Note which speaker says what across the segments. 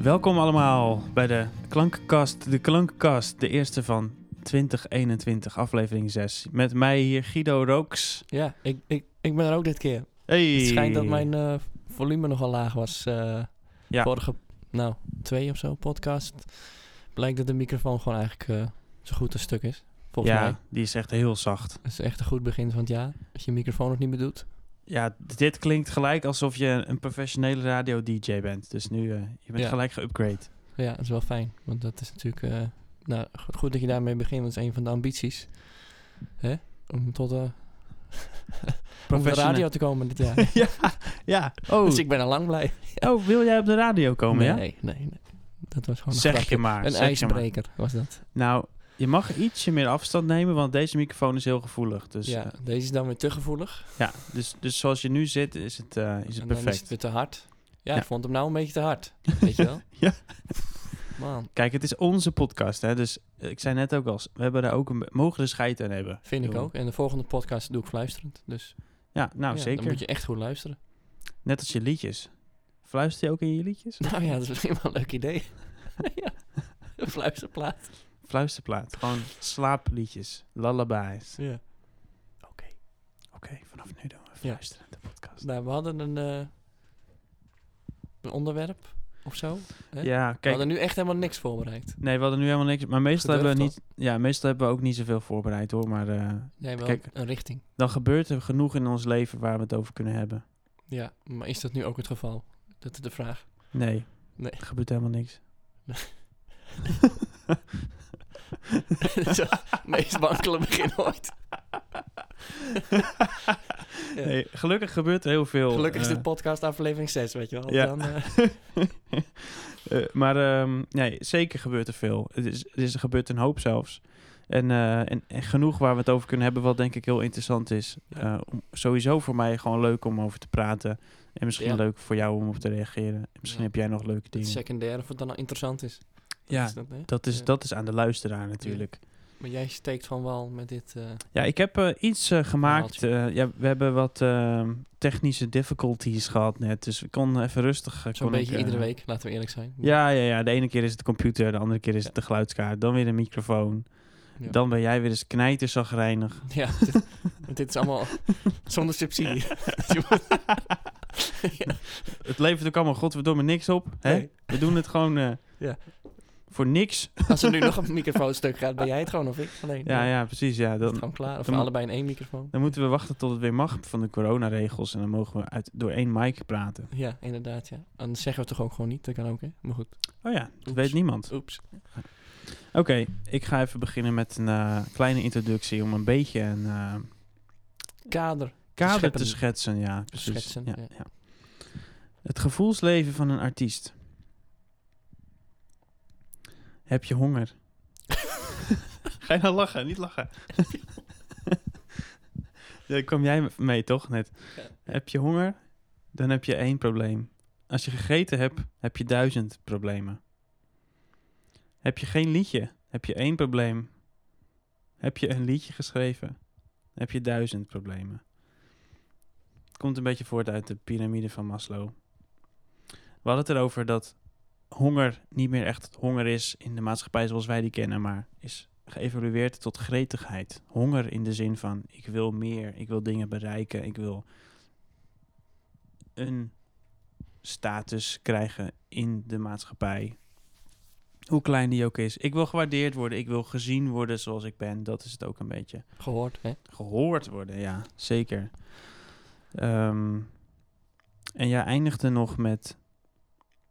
Speaker 1: Welkom allemaal bij de Klankenkast, de Klankenkast, de eerste van 2021, aflevering 6. Met mij hier Guido Rooks.
Speaker 2: Ja, ik, ik, ik ben er ook dit keer.
Speaker 1: Hey.
Speaker 2: Het schijnt dat mijn eh, volume nogal laag was. eh,
Speaker 1: Ja.
Speaker 2: Vorige, nou, twee of zo podcast. Blijkt dat de microfoon gewoon eigenlijk eh, zo goed een stuk is. Volgens
Speaker 1: Ja,
Speaker 2: mij.
Speaker 1: die is echt heel zacht.
Speaker 2: Het is echt een goed begin van het jaar. Als je microfoon nog niet meer doet.
Speaker 1: Ja, dit klinkt gelijk alsof je een professionele radio-dj bent. Dus nu, eh, je bent
Speaker 2: Ja.
Speaker 1: gelijk geüpgrade.
Speaker 2: Ja, dat is wel fijn. Want dat is natuurlijk... eh, nou, go- goed dat je daarmee begint. Want dat is een van de ambities. Hè? Om tot eh, op de
Speaker 1: Professioneel.
Speaker 2: radio te komen dit jaar.
Speaker 1: ja, ja. Oh,
Speaker 2: Dus ik ben al lang blij.
Speaker 1: oh, wil jij op de radio komen, ja?
Speaker 2: Nee, nee, nee. Dat was gewoon een
Speaker 1: Zeg
Speaker 2: grapje.
Speaker 1: je maar.
Speaker 2: Een
Speaker 1: zeg je maar.
Speaker 2: ijsbreker was dat.
Speaker 1: Nou, je mag ietsje meer afstand nemen, want deze microfoon is heel gevoelig. Dus,
Speaker 2: ja,
Speaker 1: eh,
Speaker 2: deze is dan weer te gevoelig.
Speaker 1: ja, dus, dus zoals je nu zit, is het, eh, is het
Speaker 2: en dan
Speaker 1: perfect.
Speaker 2: is het weer te hard. Ja,
Speaker 1: Ja.
Speaker 2: ik vond hem nou een beetje te hard. Weet je wel?
Speaker 1: Ja.
Speaker 2: Man,
Speaker 1: Kijk, het is onze podcast, hè? Dus eh, ik zei net ook al, we hebben daar ook een, mogen de scheid aan hebben.
Speaker 2: vind ik
Speaker 1: bedoel,
Speaker 2: ook. En de volgende podcast doe ik fluisterend. Dus
Speaker 1: Ja, nou
Speaker 2: ja,
Speaker 1: zeker.
Speaker 2: dan moet je echt goed luisteren.
Speaker 1: Net als je liedjes. Fluister je ook in je liedjes?
Speaker 2: Nou ja, dat is misschien wel een leuk idee. ja, een fluisterplaat.
Speaker 1: Fluisterplaat. Gewoon slaapliedjes. Lullabies.
Speaker 2: Ja. Oké.
Speaker 1: Oké, vanaf nu doen we fluisterend de podcast.
Speaker 2: Nou, we hadden een, eh, een onderwerp of zo. hè?
Speaker 1: Ja,
Speaker 2: We
Speaker 1: kijk.
Speaker 2: hadden nu echt helemaal niks voorbereid.
Speaker 1: Nee, we hadden nu helemaal niks. Maar meestal hebben, we
Speaker 2: Gedurfd
Speaker 1: niet, ja, meestal hebben we ook niet zoveel voorbereid hoor. Maar eh,
Speaker 2: Nee, wel
Speaker 1: Kijk.
Speaker 2: een richting.
Speaker 1: dan gebeurt er genoeg in ons leven waar we het over kunnen hebben.
Speaker 2: Ja, maar is dat nu ook het geval? Dat is de vraag.
Speaker 1: Nee.
Speaker 2: Nee.
Speaker 1: Er gebeurt helemaal niks.
Speaker 2: Dat is het meest wankele begin ooit. Ja.
Speaker 1: Nee, gelukkig gebeurt er heel veel.
Speaker 2: Gelukkig is
Speaker 1: eh,
Speaker 2: dit podcast aflevering 6, weet je wel.
Speaker 1: ja.
Speaker 2: Dan, eh,
Speaker 1: Eh, maar ehm, nee, zeker gebeurt er veel. Het is, het is, er gebeurt een hoop zelfs. En, eh, en, en genoeg waar we het over kunnen hebben, wat denk ik heel interessant is.
Speaker 2: Ja.
Speaker 1: Eh, om- sowieso voor mij gewoon leuk om over te praten. En misschien
Speaker 2: Ja.
Speaker 1: leuk voor jou om op te reageren. En Misschien
Speaker 2: Ja.
Speaker 1: heb jij nog leuke
Speaker 2: het
Speaker 1: dingen.
Speaker 2: secundair of het dan al interessant is. Dat
Speaker 1: ja,
Speaker 2: is dat, hè?
Speaker 1: dat is,
Speaker 2: Ja.
Speaker 1: dat is aan de luisteraar natuurlijk.
Speaker 2: Maar jij steekt van wal met dit... eh,
Speaker 1: Ja, ik heb eh, iets eh, gemaakt.
Speaker 2: Verhaaltje.
Speaker 1: eh, ja, we hebben wat eh, technische difficulties gehad net. Dus ik kon even rustig. eh,
Speaker 2: Zo'n
Speaker 1: kon ik,
Speaker 2: beetje
Speaker 1: eh,
Speaker 2: iedere week, laten we eerlijk zijn.
Speaker 1: Ja, ja, ja, de ene keer is het de computer, de andere keer is
Speaker 2: Ja.
Speaker 1: het de geluidskaart, dan weer een microfoon.
Speaker 2: Ja.
Speaker 1: Dan ben jij weer eens knijterzagrijnig.
Speaker 2: Ja, dit, want dit is allemaal zonder subsidie.
Speaker 1: Het levert ook allemaal godverdomme niks op. Hè?
Speaker 2: Nee.
Speaker 1: We doen het gewoon eh,
Speaker 2: Ja.
Speaker 1: voor niks.
Speaker 2: Als er nu nog een microfoon stuk gaat, ben jij het gewoon of ik alleen?
Speaker 1: Ja, ja, precies. Ja.
Speaker 2: Is het
Speaker 1: Dan,
Speaker 2: gewoon klaar? Of
Speaker 1: dan-
Speaker 2: allebei in één microfoon?
Speaker 1: dan moeten we wachten tot het weer mag van de coronaregels. En dan mogen we uit, door één mic praten.
Speaker 2: Ja, inderdaad, ja. Dan zeggen we toch ook gewoon niet? Dat kan ook, hè? Maar goed.
Speaker 1: Oh ja, dat
Speaker 2: Oeps.
Speaker 1: weet niemand.
Speaker 2: Oeps.
Speaker 1: Oké, ik ga even beginnen met een eh, kleine introductie om een beetje een eh,
Speaker 2: Kader.
Speaker 1: kader
Speaker 2: scheppen.
Speaker 1: te schetsen. Ja, precies.
Speaker 2: schetsen,
Speaker 1: ja,
Speaker 2: ja.
Speaker 1: ja. Het gevoelsleven van een artiest. Heb je honger? Ga je nou lachen? Niet lachen. Daar kwam jij mee toch net? Heb je honger? Dan heb je één probleem. Als je gegeten hebt, heb je duizend problemen. Heb je geen liedje? Heb je één probleem? Heb je een liedje geschreven? Heb je duizend problemen? komt een beetje voort uit de piramide van Maslow. We hadden het erover dat honger niet meer echt honger is in de maatschappij zoals wij die kennen, maar is geëvolueerd tot gretigheid. Honger in de zin van ik wil meer, ik wil dingen bereiken, ik wil een status krijgen in de maatschappij. Hoe klein die ook is. Ik wil gewaardeerd worden, ik wil gezien worden zoals ik ben. Dat is het ook een beetje
Speaker 2: Gehoord, hè?
Speaker 1: gehoord worden, ja, zeker. Ehm, en jij eindigde nog met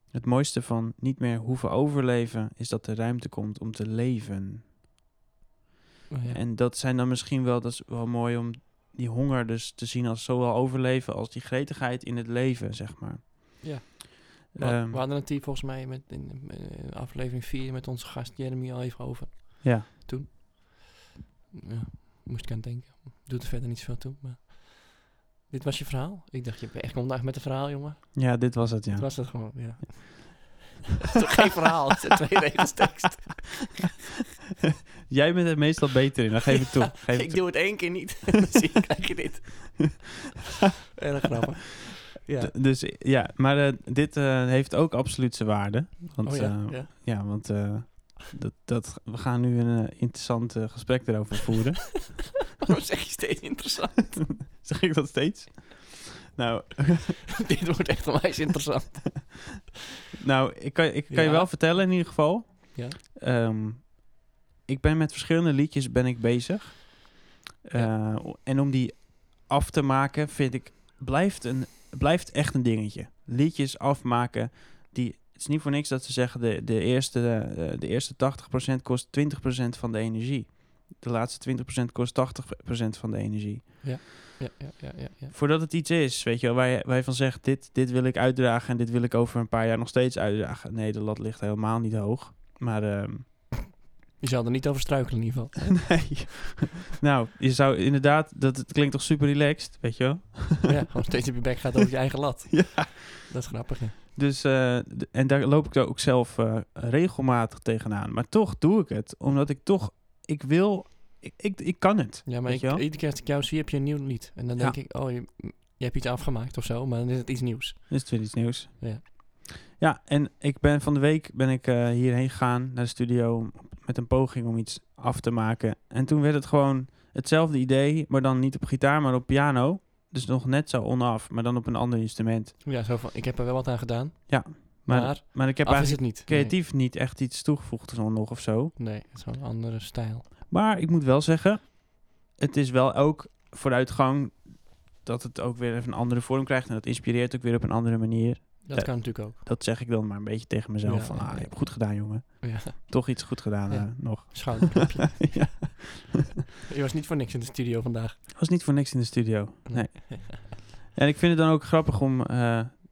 Speaker 1: het mooiste van niet meer hoeven overleven, is dat er ruimte komt om te leven.
Speaker 2: Oh, ja.
Speaker 1: En dat zijn dan misschien wel, dat is wel mooi om die honger dus te zien als zowel overleven als die gretigheid in het leven, zeg maar.
Speaker 2: Ja. We,
Speaker 1: Ehm,
Speaker 2: we hadden het hier volgens mij met, in, eh, aflevering 4 met onze gast Jeremy al even over.
Speaker 1: ja.
Speaker 2: Ja, moest ik aan denken. Doet er verder niet zoveel toe. Maar dit was je verhaal? Ik dacht, je bent echt vandaag met een verhaal, jongen.
Speaker 1: ja, dit was het, ja.
Speaker 2: Het was dat gewoon, ja. Het is toch geen verhaal, het zijn twee regels tekst.
Speaker 1: Jij bent er meestal beter in, dan geef ik toe. Geef het
Speaker 2: ik doe het één keer niet, dan zie ik, krijg je dit. Erg grappig. Ja.
Speaker 1: D- Dus ja, maar eh, dit eh, heeft ook absoluut zijn waarde. Want,
Speaker 2: oh ja,
Speaker 1: eh,
Speaker 2: ja.
Speaker 1: Ja, want eh, dat, dat, we gaan nu een eh, interessant eh, gesprek erover voeren.
Speaker 2: Waarom zeg je steeds interessant?
Speaker 1: zeg ik dat steeds? Nou,
Speaker 2: Dit wordt echt onwijs interessant.
Speaker 1: nou ik kan, ik kan je
Speaker 2: Ja.
Speaker 1: wel vertellen in ieder geval.
Speaker 2: Ja.
Speaker 1: Ehm, ik ben met verschillende liedjes ben ik bezig.
Speaker 2: Ja.
Speaker 1: Eh, en om die af te maken vind ik, blijft, een, blijft echt een dingetje. Liedjes afmaken, die, het is niet voor niks dat ze zeggen de, de, eerste, eh, de eerste 80% kost 20% van de energie. De laatste 20% kost 80% van de energie.
Speaker 2: Ja, ja, ja, ja, ja.
Speaker 1: voordat het iets is, weet je wel, waar, je- waar je van zegt, dit, dit wil ik uitdragen en dit wil ik over een paar jaar nog steeds uitdragen. Nee, de lat ligt helemaal niet hoog. Maar ehm,
Speaker 2: Je zal er niet over struikelen in ieder geval.
Speaker 1: nee. nou, je zou inderdaad, dat het klinkt toch super relaxed, weet je wel?
Speaker 2: ja, gewoon steeds op je bek gaat over je eigen lat.
Speaker 1: Ja.
Speaker 2: Dat is grappig, ja.
Speaker 1: Dus, eh, d- en daar loop ik daar ook zelf eh, regelmatig tegenaan. Maar toch doe ik het, omdat ik toch, ik wil, ik, ik, ik kan het.
Speaker 2: Ja, maar
Speaker 1: Weet
Speaker 2: ik,
Speaker 1: je wel?
Speaker 2: iedere keer als ik jou zie, heb je een nieuw lied. En dan
Speaker 1: Ja.
Speaker 2: denk ik, oh, je, je hebt iets afgemaakt of zo, maar dan is het iets nieuws.
Speaker 1: Dus het weer iets nieuws.
Speaker 2: Ja.
Speaker 1: Ja, en ik ben van de week ben ik eh, hierheen gegaan naar de studio om- met een poging om iets af te maken. En toen werd het gewoon hetzelfde idee, maar dan niet op gitaar, maar op piano. Dus nog net zo onaf, maar dan op een ander instrument.
Speaker 2: Ja, zo van, ik heb er wel wat aan gedaan,
Speaker 1: Maar,
Speaker 2: maar,
Speaker 1: maar,
Speaker 2: af
Speaker 1: ik heb
Speaker 2: is
Speaker 1: eigenlijk
Speaker 2: het niet.
Speaker 1: creatief niet echt iets toegevoegd dan nog of zo.
Speaker 2: Nee, nee, het is wel een andere stijl.
Speaker 1: Maar ik moet wel zeggen, het is wel ook vooruitgang dat het ook weer even een andere vorm krijgt. En dat inspireert ook weer op een andere manier.
Speaker 2: Dat
Speaker 1: Ja.
Speaker 2: kan natuurlijk ook.
Speaker 1: Dat zeg ik dan maar een beetje tegen mezelf.
Speaker 2: Ja,
Speaker 1: van,
Speaker 2: ja,
Speaker 1: ah,
Speaker 2: ja.
Speaker 1: je hebt goed gedaan, jongen.
Speaker 2: Ja,
Speaker 1: toch iets goed gedaan
Speaker 2: Ja.
Speaker 1: eh, nog.
Speaker 2: schouderklopje.
Speaker 1: ja.
Speaker 2: je was niet voor niks in de studio vandaag.
Speaker 1: Was niet voor niks in de studio. Nee. En ik vind het dan ook grappig om, eh,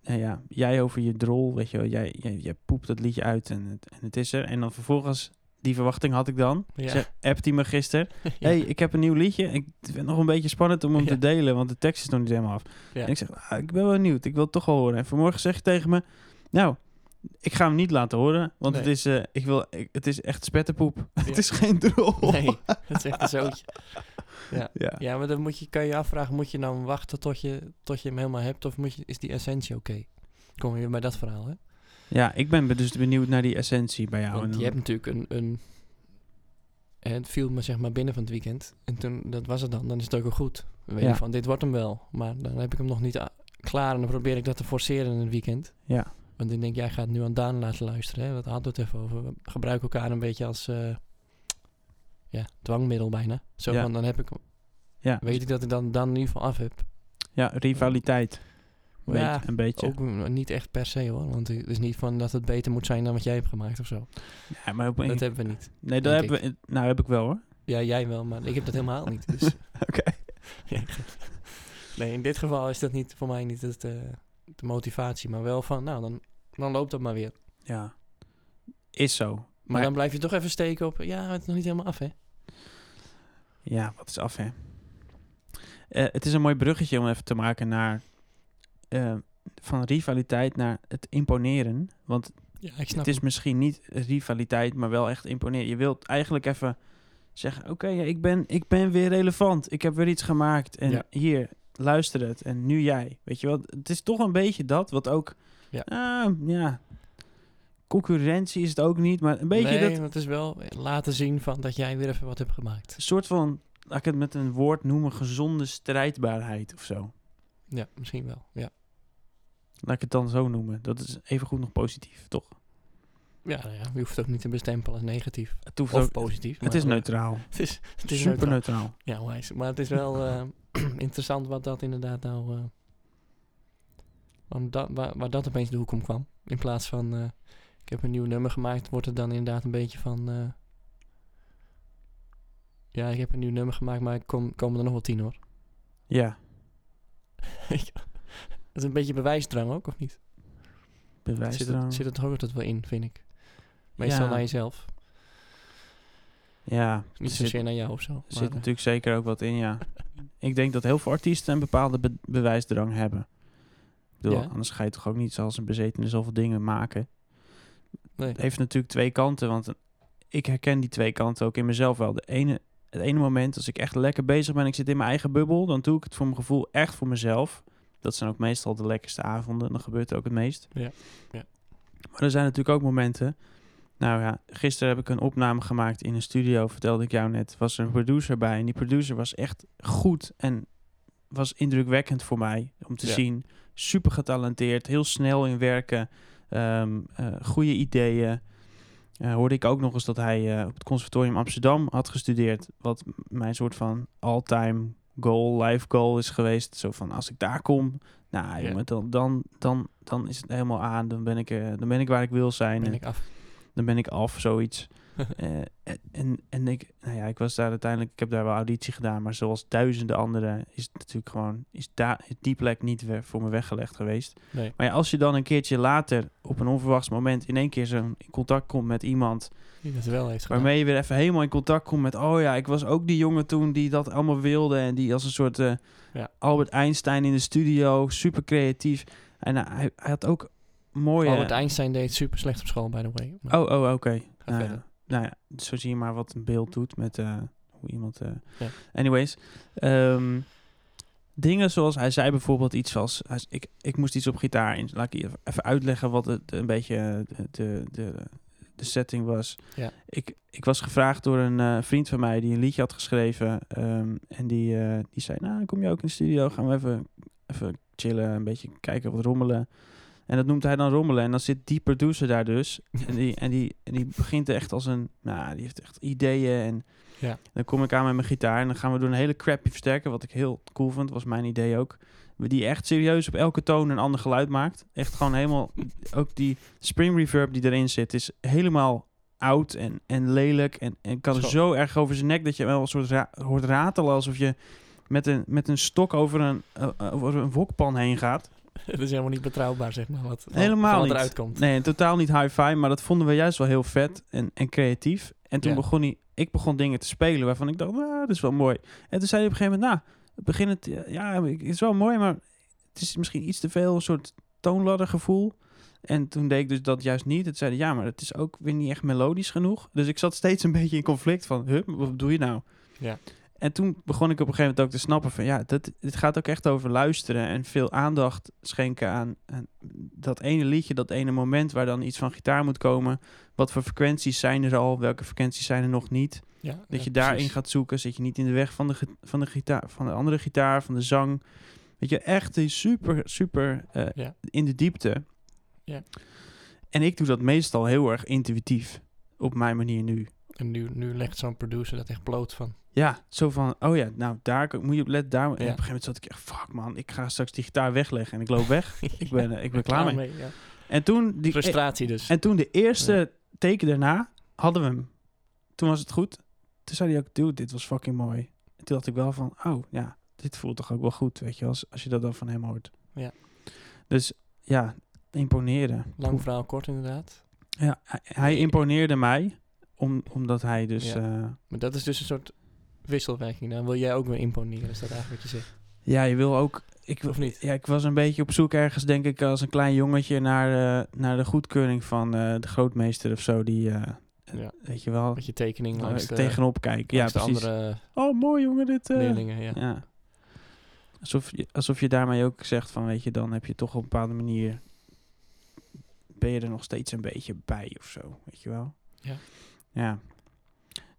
Speaker 1: nou ja, jij over je drol, weet je wel, jij, jij, jij poept dat liedje uit en het, en het is er. En dan vervolgens, die verwachting had ik dan.
Speaker 2: Ja.
Speaker 1: Ze appt hij me gisteren.
Speaker 2: Ja.
Speaker 1: hey, ik heb een nieuw liedje. Ik vind het nog een beetje spannend om hem
Speaker 2: Ja.
Speaker 1: te delen, want de tekst is nog niet helemaal af.
Speaker 2: Ja.
Speaker 1: En ik zeg, ah, ik ben wel benieuwd. Ik wil het toch wel horen. En vanmorgen zeg je tegen me, nou, ik ga hem niet laten horen, want
Speaker 2: Nee.
Speaker 1: het, is, eh, ik wil, ik- het is echt spettenpoep.
Speaker 2: Ja.
Speaker 1: het is geen drol.
Speaker 2: Nee, dat is echt een zootje.
Speaker 1: Ja.
Speaker 2: Ja, maar dan moet je, kan je je afvragen, moet je dan wachten tot je, tot je hem helemaal hebt? Of moet je, is die essentie oké? Kom je weer bij dat verhaal, hè?
Speaker 1: Ja, ik ben be- dus benieuwd naar die essentie bij jou. En
Speaker 2: Want
Speaker 1: dan-
Speaker 2: je hebt natuurlijk een... een eh, het viel me zeg maar binnen van het weekend. En toen, dat was het dan. Dan is het ook wel goed. Dan weet
Speaker 1: Ja.
Speaker 2: je van, dit wordt hem wel. Maar dan heb ik hem nog niet a- klaar. En dan probeer ik dat te forceren in het weekend.
Speaker 1: Ja.
Speaker 2: Want ik denk, jij gaat nu aan Daan laten luisteren. Hè? Dat hadden we het even over. We gebruiken elkaar een beetje als... eh, ja, dwangmiddel bijna. Zo
Speaker 1: Ja.
Speaker 2: van, dan heb ik... hem.
Speaker 1: Ja.
Speaker 2: Weet ik dat ik dan, dan in ieder geval af heb.
Speaker 1: ja, rivaliteit. Weet-
Speaker 2: Ja,
Speaker 1: een beetje.
Speaker 2: Ook mm, niet echt per se hoor. Want het is niet van dat het beter moet zijn dan wat jij hebt gemaakt of zo.
Speaker 1: Ja, maar op een-
Speaker 2: Dat hebben we niet.
Speaker 1: nee, dat
Speaker 2: denk
Speaker 1: hebben we, nou heb ik wel hoor.
Speaker 2: Ja, jij wel, maar ik heb dat helemaal niet. Dus.
Speaker 1: Oké.
Speaker 2: Ja. nee, in dit geval is dat niet voor mij niet het, eh, de motivatie. Maar wel van, nou, dan, dan loopt dat maar weer.
Speaker 1: Ja. Is zo.
Speaker 2: Maar,
Speaker 1: Maar-
Speaker 2: dan blijf je toch even steken op, ja, het is nog niet helemaal af hè.
Speaker 1: Ja, wat is af hè. Eh, het is een mooi bruggetje om even te maken naar... eh, van rivaliteit naar het imponeren. Want
Speaker 2: Ja, ik snap
Speaker 1: het is misschien niet rivaliteit, maar wel echt imponeren. Je wilt eigenlijk even zeggen: Oké, ja, ik, ben, ik ben weer relevant. Ik heb weer iets gemaakt. En
Speaker 2: Ja.
Speaker 1: hier, luister het. En nu jij. Weet je wel, het is toch een beetje dat wat ook.
Speaker 2: Ja.
Speaker 1: Ah, ja. Concurrentie is het ook niet, maar een beetje
Speaker 2: nee,
Speaker 1: dat
Speaker 2: want het is wel laten zien van dat jij weer even wat hebt gemaakt.
Speaker 1: soort van, laat ik het met een woord noemen, gezonde strijdbaarheid of zo.
Speaker 2: Ja, misschien wel. Ja,
Speaker 1: Laat ik het dan zo noemen. Dat is evengoed nog positief, toch?
Speaker 2: ja, nou ja je hoeft het ook niet te bestempelen als negatief.
Speaker 1: Het, hoeft
Speaker 2: Of
Speaker 1: ook-
Speaker 2: positief.
Speaker 1: het
Speaker 2: maar-
Speaker 1: is neutraal.
Speaker 2: Het is, het is
Speaker 1: Super
Speaker 2: neutraal.
Speaker 1: neutraal.
Speaker 2: Ja, wijs. Maar het is wel eh, interessant wat dat inderdaad nou... eh, waarom dat, waar, waar dat opeens de hoek om kwam. In plaats van... eh, ik heb een nieuw nummer gemaakt, wordt het dan inderdaad een beetje van... eh, ja, ik heb een nieuw nummer gemaakt, maar ik kom, komen er nog wel tien hoor.
Speaker 1: Ja,
Speaker 2: Dat is een beetje bewijsdrang ook, of niet?
Speaker 1: bewijs
Speaker 2: Zit het, zit het hoort het wel in, vind ik. Meestal
Speaker 1: Ja.
Speaker 2: naar jezelf.
Speaker 1: Ja,
Speaker 2: Niet
Speaker 1: er zit,
Speaker 2: zozeer naar jou of zo.
Speaker 1: er
Speaker 2: maar,
Speaker 1: zit
Speaker 2: eh,
Speaker 1: natuurlijk zeker ook wat in, ja. ik denk dat heel veel artiesten een bepaalde be- bewijsdrang hebben. Ik bedoel,
Speaker 2: Ja.
Speaker 1: anders ga je toch ook niet zoals een bezetene zoveel dingen maken.
Speaker 2: nee.
Speaker 1: Het heeft natuurlijk twee kanten, want ik herken die twee kanten ook in mezelf wel. De ene, het ene moment, als ik echt lekker bezig ben, ik zit in mijn eigen bubbel, dan doe ik het voor mijn gevoel echt voor mezelf. Dat zijn ook meestal de lekkerste avonden. Dan gebeurt het ook het meest.
Speaker 2: Ja, ja.
Speaker 1: Maar er zijn natuurlijk ook momenten. Nou ja, gisteren heb ik een opname gemaakt in een studio, vertelde ik jou net. Was er een producer bij en die producer was echt goed en was indrukwekkend voor mij om te
Speaker 2: Ja.
Speaker 1: zien. Super getalenteerd, heel snel in werken, ehm, eh, goede ideeën. Eh, hoorde ik ook nog eens dat hij eh, op het Conservatorium Amsterdam had gestudeerd. Wat m- mijn soort van all-time goal, life goal is geweest. Zo van als ik daar kom, nou
Speaker 2: Ja.
Speaker 1: jongen, dan, dan, dan, dan is het helemaal aan. Dan ben ik, eh, dan ben ik waar ik wil zijn.
Speaker 2: ben
Speaker 1: En-
Speaker 2: ik af.
Speaker 1: dan ben ik af, zoiets. Eh, en- en, en ik, nou ja, ik was daar uiteindelijk, ik heb daar wel auditie gedaan, maar zoals duizenden anderen is het natuurlijk gewoon, is daar is die plek niet weer voor me weggelegd geweest.
Speaker 2: Nee.
Speaker 1: Maar ja, als je dan een keertje later op een onverwachts moment in één keer zo'n in contact komt met iemand,
Speaker 2: Die dat wel heeft gedaan.
Speaker 1: waarmee je weer even helemaal in contact komt met, oh ja, ik was ook die jongen toen die dat allemaal wilde en die als een soort eh,
Speaker 2: Ja.
Speaker 1: Albert Einstein in de studio, super creatief. En eh, hij, hij had ook mooie...
Speaker 2: Albert Einstein deed super slecht op school, by the way. Maar-
Speaker 1: Oh, oh, oké.
Speaker 2: Ga
Speaker 1: Nou,
Speaker 2: verder.
Speaker 1: ja. nou ja, zo zie je maar wat een beeld doet met eh, hoe iemand... eh,
Speaker 2: Ja.
Speaker 1: Anyways. ehm, dingen zoals hij zei bijvoorbeeld iets als... hij- ik, ik moest iets op gitaar in. Laat ik je even uitleggen wat het een beetje eh, de, de, de, de setting was.
Speaker 2: Ja.
Speaker 1: Ik, ik was gevraagd door een eh, vriend van mij die een liedje had geschreven. ehm, en die, eh, die zei, nou kom je ook in de studio? Gaan we even, even chillen, een beetje kijken wat rommelen. En dat noemt hij dan rommelen. En dan zit die producer daar dus. En die, en die, en die begint echt als een... Nou, die heeft echt ideeën. En
Speaker 2: Ja.
Speaker 1: dan kom ik aan met mijn gitaar. En dan gaan we door een hele crappy versterker. Wat ik heel cool vond. Was mijn idee ook. Die echt serieus op elke toon een ander geluid maakt. Echt gewoon helemaal... ook die spring reverb die erin zit. Is helemaal oud en, en lelijk. En, en kan zo.
Speaker 2: Zo.
Speaker 1: erg over zijn nek. Dat je hem wel een soort ra- hoort ratelen. Alsof je met een, met een stok over een, eh, over een wokpan heen gaat.
Speaker 2: Het is helemaal niet betrouwbaar, zeg maar. Wat, wat-
Speaker 1: Helemaal
Speaker 2: wat
Speaker 1: niet.
Speaker 2: eruit komt.
Speaker 1: Nee, en totaal niet hi-fi, maar dat vonden we juist wel heel vet en, en creatief. En toen
Speaker 2: Ja.
Speaker 1: begon hij, ik begon dingen te spelen waarvan ik dacht, nou, dat is wel mooi. En toen zei hij op een gegeven moment, nou, het begin het, eh, ja, ik- het is wel mooi, maar het is misschien iets te veel een soort toonladdergevoel. En toen deed ik dus dat juist niet. Het zei hij, ja, maar het is ook weer niet echt melodisch genoeg. Dus ik zat steeds een beetje in conflict van, huh, wat doe je nou?
Speaker 2: Ja.
Speaker 1: En toen begon ik op een gegeven moment ook te snappen van, ja, dat, het gaat ook echt over luisteren en veel aandacht schenken aan, aan dat ene liedje, dat ene moment waar dan iets van gitaar moet komen. Wat voor frequenties zijn er al? Welke frequenties zijn er nog niet?
Speaker 2: Ja,
Speaker 1: Dat
Speaker 2: ja,
Speaker 1: je daarin
Speaker 2: precies.
Speaker 1: gaat zoeken. Zit je niet in de weg van de, ge- van de, gitaar, van de andere gitaar, van de zang. Weet je, echt die super, super eh,
Speaker 2: Ja.
Speaker 1: in de diepte.
Speaker 2: Ja.
Speaker 1: En ik doe dat meestal heel erg intuïtief. Op mijn manier nu.
Speaker 2: En nu, nu legt zo'n producer dat echt bloot van.
Speaker 1: Ja, zo van, oh ja, nou daar kan- moet je op letten. Daar, En op een
Speaker 2: Ja.
Speaker 1: gegeven moment zat ik echt, fuck man, ik ga straks die gitaar wegleggen. En ik loop weg. ik ben, eh, ik ben klaar mee.
Speaker 2: ja.
Speaker 1: En toen... Die,
Speaker 2: Frustratie dus.
Speaker 1: En toen de eerste teken daarna hadden we hem. Toen was het goed. Toen zei hij ook, dude, dit was fucking mooi. En toen dacht ik wel van, oh ja, dit voelt toch ook wel goed, weet je, als, als je dat dan van hem hoort.
Speaker 2: Ja.
Speaker 1: Dus ja, imponeren.
Speaker 2: Lang verhaal kort inderdaad.
Speaker 1: Ja, hij, hij imponeerde mij, om, omdat hij dus...
Speaker 2: Ja.
Speaker 1: Ja,
Speaker 2: Maar dat is dus een soort wisselwerking. Dan wil jij ook weer imponeren, is dat eigenlijk wat je zegt.
Speaker 1: ja je wil ook... Ik, wil-
Speaker 2: Of niet?
Speaker 1: Ja, ik was een beetje op zoek ergens, denk ik, als een klein jongetje naar, eh, naar de goedkeuring van eh, de grootmeester of zo, die, eh,
Speaker 2: Ja.
Speaker 1: weet je wel, eh,
Speaker 2: Met je tekening langs de,
Speaker 1: tegenop kijken. Nou, Ja,
Speaker 2: langs de
Speaker 1: precies.
Speaker 2: andere
Speaker 1: Oh, mooi jongen, dit. eh.
Speaker 2: leerlingen. Ja.
Speaker 1: ja. Alsof, je, alsof je daarmee ook zegt van, weet je, dan heb je toch op een bepaalde manier... Ben je er nog steeds een beetje bij of zo, weet je wel?
Speaker 2: Ja.
Speaker 1: Ja.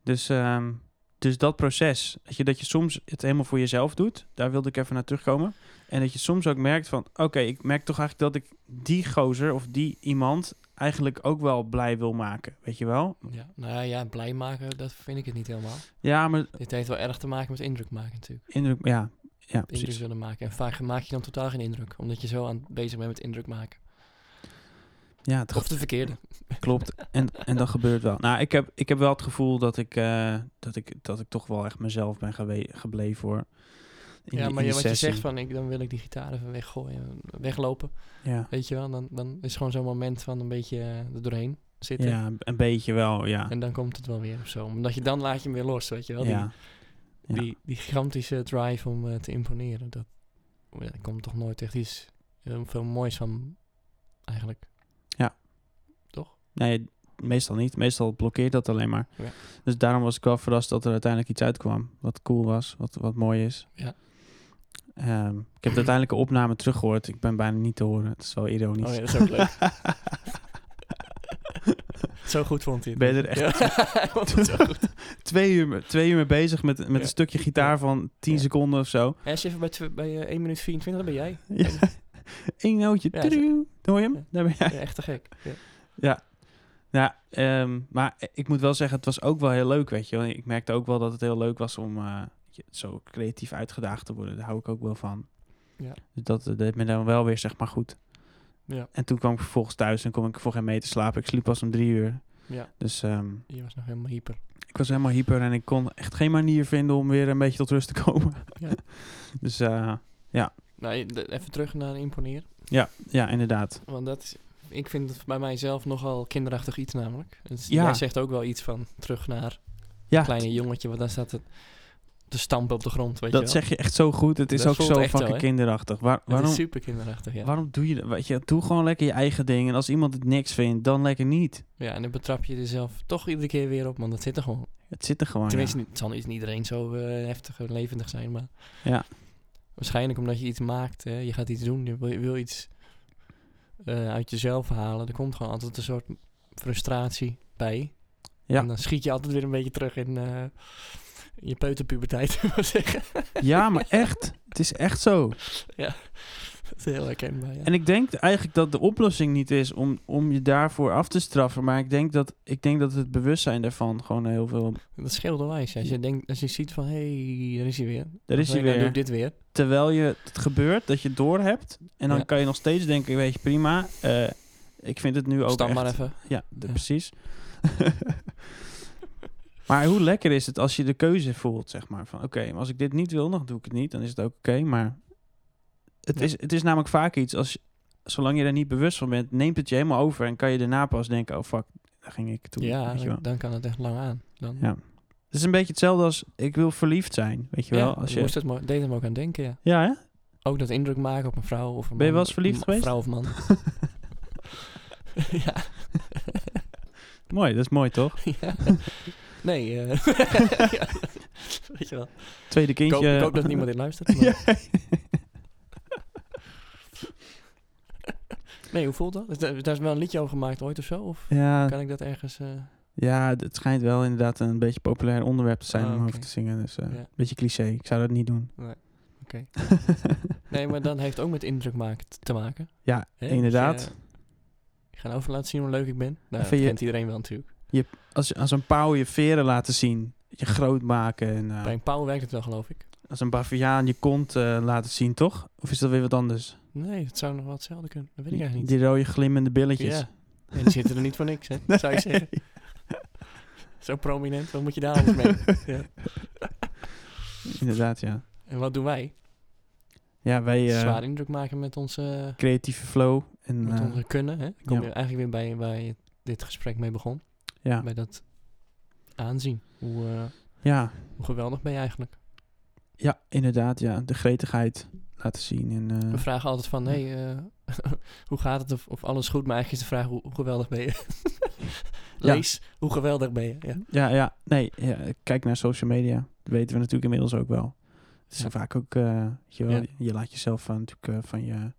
Speaker 1: Dus, ehm, dus dat proces, dat je, dat je soms het helemaal voor jezelf doet, daar wilde ik even naar terugkomen. En dat je soms ook merkt van, oké, ik merk toch eigenlijk dat ik die gozer of die iemand eigenlijk ook wel blij wil maken, weet je wel?
Speaker 2: Ja. Nou ja, blij maken, dat vind ik het niet helemaal.
Speaker 1: Ja, maar
Speaker 2: Dit heeft wel erg te maken met indruk maken natuurlijk.
Speaker 1: indruk, ja, ja,
Speaker 2: Indruk
Speaker 1: precies.
Speaker 2: willen maken. En vaak maak je dan totaal geen indruk. Omdat je zo aan bezig bent met indruk maken.
Speaker 1: Ja, het
Speaker 2: Of de verkeerde.
Speaker 1: Klopt. En, en dat gebeurt wel. Nou, ik heb, ik heb wel het gevoel dat ik, eh, dat ik, dat ik toch wel echt mezelf ben gewe- gebleven hoor. In
Speaker 2: ja,
Speaker 1: die-
Speaker 2: maar
Speaker 1: in die
Speaker 2: je, wat je
Speaker 1: sessie.
Speaker 2: zegt van ik, dan wil ik die gitaar even weggooien, weglopen.
Speaker 1: Ja.
Speaker 2: Weet je wel, dan, dan is gewoon zo'n moment van een beetje eh, er doorheen zitten.
Speaker 1: ja, een- een beetje wel, ja.
Speaker 2: En dan komt het wel weer of zo. Omdat je dan laat je hem weer los, weet je wel.
Speaker 1: ja.
Speaker 2: Die,
Speaker 1: ja.
Speaker 2: die, die gigantische drive om eh, te imponeren. Dat, oh ja, daar komt toch nooit echt iets heel veel moois van, eigenlijk.
Speaker 1: Nee, meestal niet. Meestal blokkeert dat alleen maar.
Speaker 2: Ja.
Speaker 1: Dus daarom was ik wel verrast dat er uiteindelijk iets uitkwam. Wat cool was, wat, wat mooi is.
Speaker 2: Ja.
Speaker 1: Ehm, ik heb de uiteindelijke opname teruggehoord. Ik ben bijna niet te horen. Het is wel ironisch.
Speaker 2: Oh ja, dat is ook leuk. Zo goed vond hij het.
Speaker 1: Ben je er echt-
Speaker 2: Ja. Want het is ook goed.
Speaker 1: twee, uur, me- twee uur mee bezig met, met
Speaker 2: Ja.
Speaker 1: een stukje gitaar van 10
Speaker 2: Ja.
Speaker 1: seconden of zo.
Speaker 2: En als je even bij, tw- bij eh, 1 minuut 24, dan ben jij.
Speaker 1: Ja. Eén nootje.
Speaker 2: Ja,
Speaker 1: Ja, Hoor je hem?
Speaker 2: Ja.
Speaker 1: Daar ben jij.
Speaker 2: Ja, echt te gek. Ja.
Speaker 1: Ja, ehm, maar ik moet wel zeggen, het was ook wel heel leuk, weet je. wel. Ik merkte ook wel dat het heel leuk was om eh, je- zo creatief uitgedaagd te worden. Daar hou ik ook wel van.
Speaker 2: Ja.
Speaker 1: Dus dat eh, deed me dan wel weer, zeg maar, goed.
Speaker 2: Ja.
Speaker 1: En toen kwam ik vervolgens thuis en kon ik voor geen meter slapen. Ik sliep pas om drie uur.
Speaker 2: Ja.
Speaker 1: Dus ehm,
Speaker 2: Je was nog helemaal hyper.
Speaker 1: ik was helemaal hyper en ik kon echt geen manier vinden om weer een beetje tot rust te komen.
Speaker 2: Ja.
Speaker 1: dus eh,
Speaker 2: Nou, je- de- even terug naar imponeer.
Speaker 1: ja, ja, inderdaad.
Speaker 2: Want dat is, ik vind het bij mijzelf nogal kinderachtig iets namelijk. Dus
Speaker 1: Ja.
Speaker 2: Jij zegt ook wel iets van terug naar
Speaker 1: Ja,
Speaker 2: kleine jongetje, want daar staat het te stampen op de grond, weet
Speaker 1: dat
Speaker 2: je wel.
Speaker 1: zeg je echt zo goed. Het is
Speaker 2: Dat
Speaker 1: ook
Speaker 2: voelt
Speaker 1: zo
Speaker 2: echt zo,
Speaker 1: fucking
Speaker 2: hè?
Speaker 1: kinderachtig. Waar,
Speaker 2: Het
Speaker 1: waarom,
Speaker 2: is super kinderachtig, ja.
Speaker 1: Waarom doe je dat? Weet je, doe gewoon lekker je eigen ding. En als iemand het niks vindt, dan lekker niet.
Speaker 2: Ja, en dan betrap je jezelf toch iedere keer weer op, want dat zit er gewoon.
Speaker 1: Het zit er gewoon.
Speaker 2: Tenminste,
Speaker 1: Oh, ja.
Speaker 2: niet- het zal niet iedereen zo eh, heftig en levendig zijn, maar...
Speaker 1: Ja.
Speaker 2: Waarschijnlijk omdat je iets maakt, hè. je gaat iets doen, je wil, je wil iets eh, uit jezelf halen. Er komt gewoon altijd een soort frustratie bij.
Speaker 1: Ja.
Speaker 2: En dan schiet je altijd weer een beetje terug in, eh, in je peuterpuberteit, wil ik zeggen.
Speaker 1: ja, maar echt. Het is echt zo.
Speaker 2: Dat is heel herkenbaar, ja.
Speaker 1: En ik denk eigenlijk dat de oplossing niet is om, om je daarvoor af te straffen. Maar ik denk, dat, ik denk dat het bewustzijn daarvan gewoon heel veel...
Speaker 2: Dat scheelt onwijs. Als je, denkt, als je ziet van, hé, hey, daar is hij weer.
Speaker 1: Daar is
Speaker 2: Of,
Speaker 1: hij
Speaker 2: hey, nou doe
Speaker 1: weer.
Speaker 2: ik dit weer.
Speaker 1: Terwijl je, het gebeurt, dat je het doorhebt. En dan
Speaker 2: Ja.
Speaker 1: kan je nog steeds denken, weet je, prima. eh, ik vind het nu ook
Speaker 2: Stam
Speaker 1: echt-
Speaker 2: maar even.
Speaker 1: Ja, de-
Speaker 2: Ja.
Speaker 1: precies. maar hoe lekker is het als je de keuze voelt, zeg maar. Van oké, maar als ik dit niet wil, dan doe ik het niet. Dan is het ook oké, maar... Het,
Speaker 2: Ja.
Speaker 1: is, het is namelijk vaak iets, als, je- zolang je er niet bewust van bent, neemt het je helemaal over. En kan je daarna pas denken, oh fuck, daar ging ik toe.
Speaker 2: Ja,
Speaker 1: weet je wel.
Speaker 2: dan, dan kan het echt lang aan. Dan,
Speaker 1: Ja, Het is een beetje hetzelfde als, ik wil verliefd zijn, weet je wel.
Speaker 2: Ja,
Speaker 1: als
Speaker 2: ik
Speaker 1: je,
Speaker 2: moest het maar, deed hem ook aan denken, ja.
Speaker 1: ja, hè?
Speaker 2: Ook dat indruk maken op een vrouw of een
Speaker 1: Ben je
Speaker 2: man,
Speaker 1: wel eens verliefd
Speaker 2: een
Speaker 1: geweest?
Speaker 2: Vrouw of man. ja,
Speaker 1: Mooi, dat is mooi toch?
Speaker 2: ja. Nee, eh, ja, weet je wel.
Speaker 1: Tweede
Speaker 2: Ik
Speaker 1: kindje.
Speaker 2: hoop, ik hoop dat niemand dit luistert. maar- Nee, hoe voelt dat? Is daar, daar is wel een liedje over gemaakt ooit of zo? Of
Speaker 1: Ja,
Speaker 2: kan ik dat ergens... eh,
Speaker 1: Ja, d- het schijnt wel inderdaad een beetje populair onderwerp te zijn
Speaker 2: Ah,
Speaker 1: om
Speaker 2: oké.
Speaker 1: over te zingen. Dus eh,
Speaker 2: Ja.
Speaker 1: een beetje cliché. Ik zou dat niet doen.
Speaker 2: Nee, maar dan heeft ook met indruk maken t- te maken.
Speaker 1: Ja,
Speaker 2: Hè?
Speaker 1: inderdaad.
Speaker 2: Dus, eh, ik ga nou even laten zien hoe leuk ik ben. Nou,
Speaker 1: Even
Speaker 2: dat
Speaker 1: je-
Speaker 2: kent iedereen wel natuurlijk.
Speaker 1: Als, je- als een pauw je veren laten zien, je groot maken. En, eh,
Speaker 2: Bij een pauw werkt het wel, geloof ik.
Speaker 1: als een baviaan je kont eh, laten zien, toch? Of is dat weer wat anders?
Speaker 2: Nee, het zou nog wel hetzelfde kunnen. Dat weet ik eigenlijk niet.
Speaker 1: Die rode glimmende billetjes.
Speaker 2: Ja. En die zitten er niet voor niks, hè? Zou ik zeggen. Zo prominent, wat moet je daar anders mee? Ja.
Speaker 1: Inderdaad, ja.
Speaker 2: En wat doen wij?
Speaker 1: Ja, wij eh,
Speaker 2: Zwaar indruk maken met onze,
Speaker 1: creatieve flow. En,
Speaker 2: met
Speaker 1: eh,
Speaker 2: onze kunnen. Hè? Ik kom
Speaker 1: ja.
Speaker 2: je eigenlijk weer bij waar je dit gesprek mee begon.
Speaker 1: ja.
Speaker 2: Bij dat aanzien. Hoe, eh,
Speaker 1: ja,
Speaker 2: hoe geweldig ben je eigenlijk?
Speaker 1: ja, inderdaad. Ja. De gretigheid laten zien. En, eh,
Speaker 2: We vragen altijd van, hey, eh, hoe gaat het? Of, of alles goed? Maar eigenlijk is de vraag, hoe, hoe geweldig ben je?
Speaker 1: Ja. Mhm.
Speaker 2: Lees, hoe geweldig ben je? Ja.
Speaker 1: Ja, ja. Nee, ja, kijk naar social media. Dat weten we natuurlijk inmiddels ook wel. Het is
Speaker 2: Ja.
Speaker 1: vaak ook... eh, weet je, wel,
Speaker 2: Ja.
Speaker 1: je laat jezelf eh, natuurlijk eh, van, je,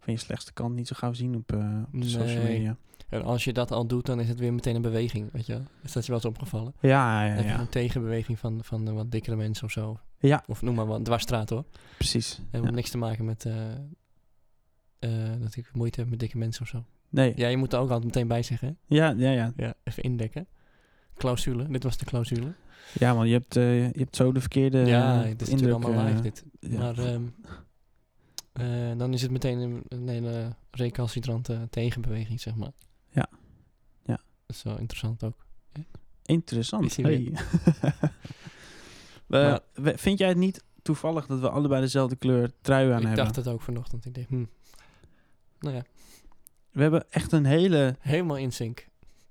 Speaker 1: van je slechtste kant niet zo gauw zien op, eh, op de social
Speaker 2: Nee.
Speaker 1: media.
Speaker 2: En als je dat al doet, dan is het weer meteen een beweging, weet je wel? Is dat je wel eens opgevallen?
Speaker 1: Ja, ja,
Speaker 2: Even
Speaker 1: ja.
Speaker 2: een tegenbeweging van, van de wat dikkere mensen of zo.
Speaker 1: Ja.
Speaker 2: Of noem maar wat, dwarsstraat hoor.
Speaker 1: Precies.
Speaker 2: Helemaal niks te maken met eh, eh, dat ik moeite heb met dikke mensen of zo.
Speaker 1: Nee. Ja,
Speaker 2: Ja, je moet er ook altijd meteen bij zeggen. hè?
Speaker 1: ja, ja. ja.
Speaker 2: Ja, even indekken. Clausule, dit was de clausule.
Speaker 1: Ja, want je hebt, eh, je hebt zo de verkeerde
Speaker 2: ja,
Speaker 1: eh,
Speaker 2: het is
Speaker 1: indruk,
Speaker 2: natuurlijk allemaal live
Speaker 1: eh,
Speaker 2: dit.
Speaker 1: ja.
Speaker 2: Maar ehm, eh, dan is het meteen een, een hele recalcitrante tegenbeweging, zeg maar.
Speaker 1: Ja. Ja.
Speaker 2: Dat is wel interessant ook.
Speaker 1: Interessant.
Speaker 2: Is hij
Speaker 1: Hey.
Speaker 2: weer.
Speaker 1: Eh,
Speaker 2: Maar-
Speaker 1: we- vind jij het niet toevallig dat we allebei dezelfde kleur trui aan
Speaker 2: ik
Speaker 1: hebben?
Speaker 2: dacht het ook vanochtend. Ik dacht, hm. Nou ja,
Speaker 1: We hebben echt een hele...
Speaker 2: helemaal in sync.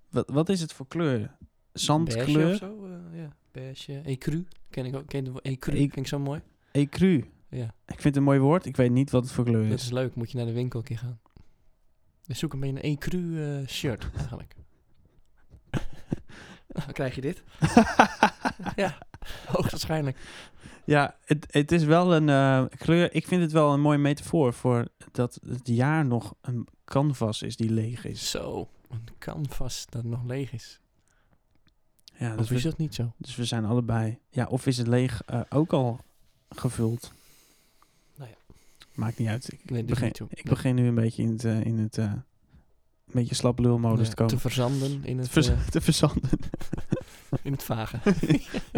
Speaker 1: Wat, wat is het voor kleur?
Speaker 2: Beige of
Speaker 1: Zandkleur?
Speaker 2: zo, eh, ja. Beige. Ecru, ken ik ook. Ken je de Ecru,
Speaker 1: E-
Speaker 2: vind ik zo mooi.
Speaker 1: Ecru.
Speaker 2: Ja,
Speaker 1: Ik vind het een mooi woord. Ik weet niet wat het voor kleur
Speaker 2: dat
Speaker 1: is.
Speaker 2: is leuk. Moet je naar de winkel een keer gaan. Dus zoek een beetje een Ecru eh, shirt eigenlijk. Dan krijg je dit. ja, hoogstwaarschijnlijk.
Speaker 1: Ja, het, het is wel een eh, kleur. Ik vind het wel een mooie metafoor voor dat het jaar nog een canvas is die leeg is.
Speaker 2: Zo, een canvas dat nog leeg is.
Speaker 1: Ja, dus,
Speaker 2: Of is
Speaker 1: we,
Speaker 2: dat niet zo?
Speaker 1: dus we zijn allebei. Ja, of is het leeg eh, ook al gevuld?
Speaker 2: Nou ja.
Speaker 1: Maakt niet uit. Ik,
Speaker 2: Nee, doet
Speaker 1: begin,
Speaker 2: niet toe.
Speaker 1: ik
Speaker 2: Nee.
Speaker 1: begin nu een beetje in het, eh, in het eh, een beetje slap lulmodus te
Speaker 2: Nee,
Speaker 1: komen.
Speaker 2: Nou te verzanden in
Speaker 1: Te,
Speaker 2: het,
Speaker 1: vers-
Speaker 2: eh,
Speaker 1: te verzanden
Speaker 2: in het vage.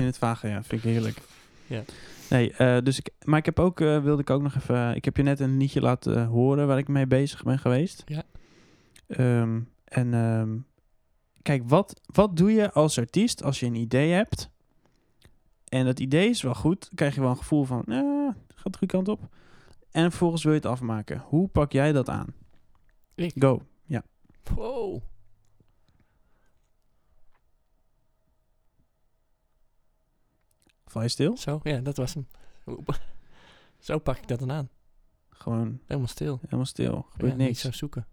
Speaker 1: in het vage, ja. Vind ik heerlijk.
Speaker 2: Ja.
Speaker 1: Nee, eh, dus ik, maar ik heb ook, eh, wilde ik ook nog even... Ik heb je net een liedje laten eh, horen waar ik mee bezig ben geweest.
Speaker 2: Ja.
Speaker 1: Ehm, en ehm, kijk, wat, wat doe je als artiest als je een idee hebt? En dat idee is wel goed. Dan krijg je wel een gevoel van, eh, gaat de goede kant op. En vervolgens wil je het afmaken. Hoe pak jij dat aan?
Speaker 2: Ik?
Speaker 1: Go.
Speaker 2: Wow.
Speaker 1: Val je stil?
Speaker 2: Zo, ja, dat was hem. Oep. Zo pak ik dat dan aan.
Speaker 1: Gewoon
Speaker 2: Helemaal stil.
Speaker 1: helemaal stil. Gebeurt
Speaker 2: Ja, Niet
Speaker 1: niks.
Speaker 2: zo zoeken.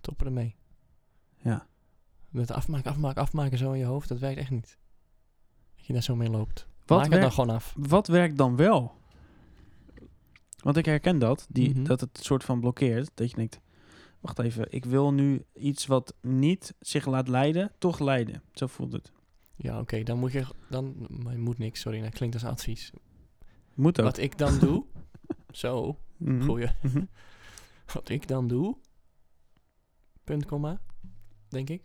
Speaker 2: Toppen ermee.
Speaker 1: Ja.
Speaker 2: Met afmaken, afmaken, afmaken zo in je hoofd, dat werkt echt niet. Dat je daar zo mee loopt.
Speaker 1: Wat
Speaker 2: Maak het
Speaker 1: werkt-
Speaker 2: dan gewoon af.
Speaker 1: wat werkt dan wel? Want ik herken dat, die,
Speaker 2: Mhm.
Speaker 1: dat het soort van blokkeert. Dat je denkt, wacht even, ik wil nu iets wat niet zich laat leiden, toch leiden. Zo voelt het.
Speaker 2: Ja, oké, dan moet je... Dan, maar je moet niks, sorry, dat klinkt als een advies.
Speaker 1: Moet ook.
Speaker 2: Wat ik dan doe... zo,
Speaker 1: Mhm.
Speaker 2: goeie.
Speaker 1: Mhm.
Speaker 2: Wat ik dan doe... Punt, komma, denk ik.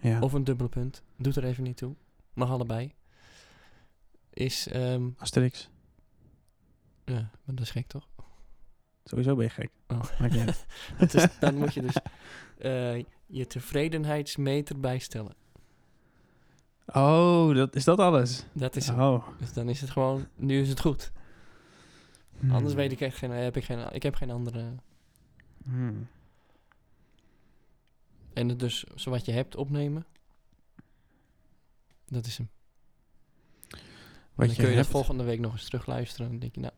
Speaker 1: Ja.
Speaker 2: Of een dubbele punt. Doet er even niet toe. Mag allebei. Is, ehm
Speaker 1: Asterix.
Speaker 2: ja, maar dat is gek toch?
Speaker 1: Sowieso ben je gek.
Speaker 2: Oh.
Speaker 1: Maakt niet uit.
Speaker 2: Dat is- dan moet je dus eh, je tevredenheidsmeter bijstellen.
Speaker 1: Oh, dat, is dat alles?
Speaker 2: Dat is het.
Speaker 1: oh.
Speaker 2: Dus dan is het gewoon, nu is het goed.
Speaker 1: Hmm.
Speaker 2: Anders weet ik echt geen, heb ik geen, ik heb geen andere.
Speaker 1: Hmm.
Speaker 2: En het dus, zowat je hebt, opnemen. Dat is hem.
Speaker 1: Wat
Speaker 2: dan
Speaker 1: je
Speaker 2: kun je dat
Speaker 1: hebt.
Speaker 2: volgende week nog eens terugluisteren. En dan denk je, nou,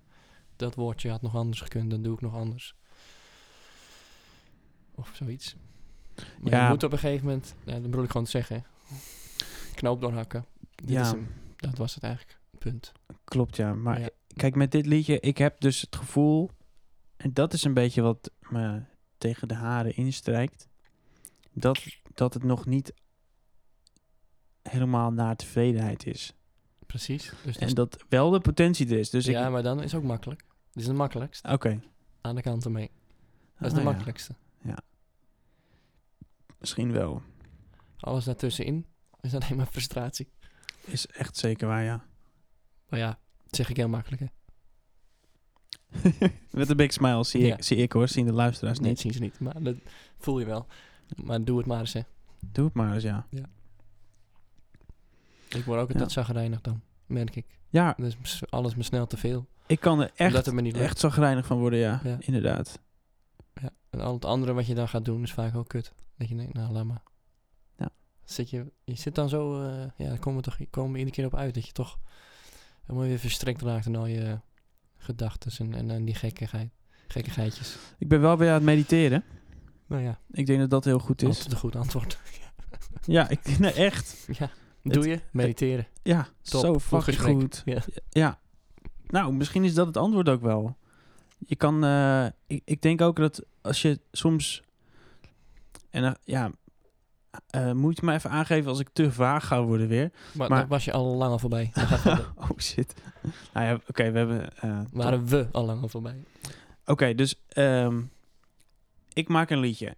Speaker 2: dat woordje had nog anders gekund, dan doe ik nog anders. Of zoiets. Maar
Speaker 1: Ja.
Speaker 2: je moet op een gegeven moment, nou, dat bedoel ik gewoon te zeggen, knoop doorhakken. Dit
Speaker 1: Ja.
Speaker 2: is hem. Dat was het eigenlijk. Punt.
Speaker 1: Klopt, ja. Maar
Speaker 2: Ja.
Speaker 1: kijk, met dit liedje, ik heb dus het gevoel... En dat is een beetje wat me tegen de haren instrijkt. Dat, dat het nog niet helemaal naar tevredenheid is.
Speaker 2: Precies. Dus dat
Speaker 1: En dat wel de potentie er is. Dus
Speaker 2: is- ja,
Speaker 1: ik...
Speaker 2: maar dan is ook makkelijk. Dit is het makkelijkst.
Speaker 1: Oké.
Speaker 2: Aan de kant ermee. Dat
Speaker 1: Ah,
Speaker 2: is de
Speaker 1: ja.
Speaker 2: makkelijkste.
Speaker 1: Misschien wel.
Speaker 2: Alles daartussenin is alleen maar frustratie.
Speaker 1: Is echt zeker waar, ja.
Speaker 2: Maar ja, dat zeg ik heel makkelijk, hè.
Speaker 1: Met een big smile zie,
Speaker 2: Ja.
Speaker 1: ik, zie ik hoor. Zien de luisteraars
Speaker 2: Nee,
Speaker 1: niet.
Speaker 2: dat zien ze niet. Maar dat voel je wel. Maar doe het maar eens, hè.
Speaker 1: Doe het maar eens, ja.
Speaker 2: Ik word ook
Speaker 1: Ja.
Speaker 2: altijd zagrijnig dan, merk ik.
Speaker 1: Ja,
Speaker 2: Dus m- alles me snel te veel.
Speaker 1: ik kan er echt,
Speaker 2: Omdat het me niet lukt.
Speaker 1: echt zagrijnig van worden, ja.
Speaker 2: Ja.
Speaker 1: Inderdaad.
Speaker 2: Ja. En al het andere wat je dan gaat doen is vaak ook kut. Dat je denkt, nou laat maar.
Speaker 1: Ja.
Speaker 2: Zit je, je zit dan zo, eh, ja, daar komen we, toch, komen we iedere keer op uit. Dat je toch helemaal weer verstrikt raakt in al je gedachten en, en, en die gekkigheid, gekkigheidjes.
Speaker 1: Ik ben wel weer aan het mediteren.
Speaker 2: Nou ja, dus
Speaker 1: Ik denk dat dat heel goed is.
Speaker 2: altijd een goed antwoord.
Speaker 1: Ja, ik, nee, echt.
Speaker 2: ja, doe je? Mediteren.
Speaker 1: Ja,
Speaker 2: Top,
Speaker 1: zo
Speaker 2: goed
Speaker 1: fucking
Speaker 2: gesprek.
Speaker 1: goed.
Speaker 2: Ja.
Speaker 1: Ja. Nou, misschien is dat het antwoord ook wel. Je kan... eh, ik, ik denk ook dat als je soms... En dan- ja... eh, moet je me even aangeven als ik te vaag ga worden weer.
Speaker 2: Maar,
Speaker 1: Maar-
Speaker 2: daar was je al lang al voorbij. Dan gaat verder.
Speaker 1: oh shit. Nou ja, oké, we hebben... eh,
Speaker 2: Waren we al lang al voorbij.
Speaker 1: Oké, dus ehm, ik maak een liedje.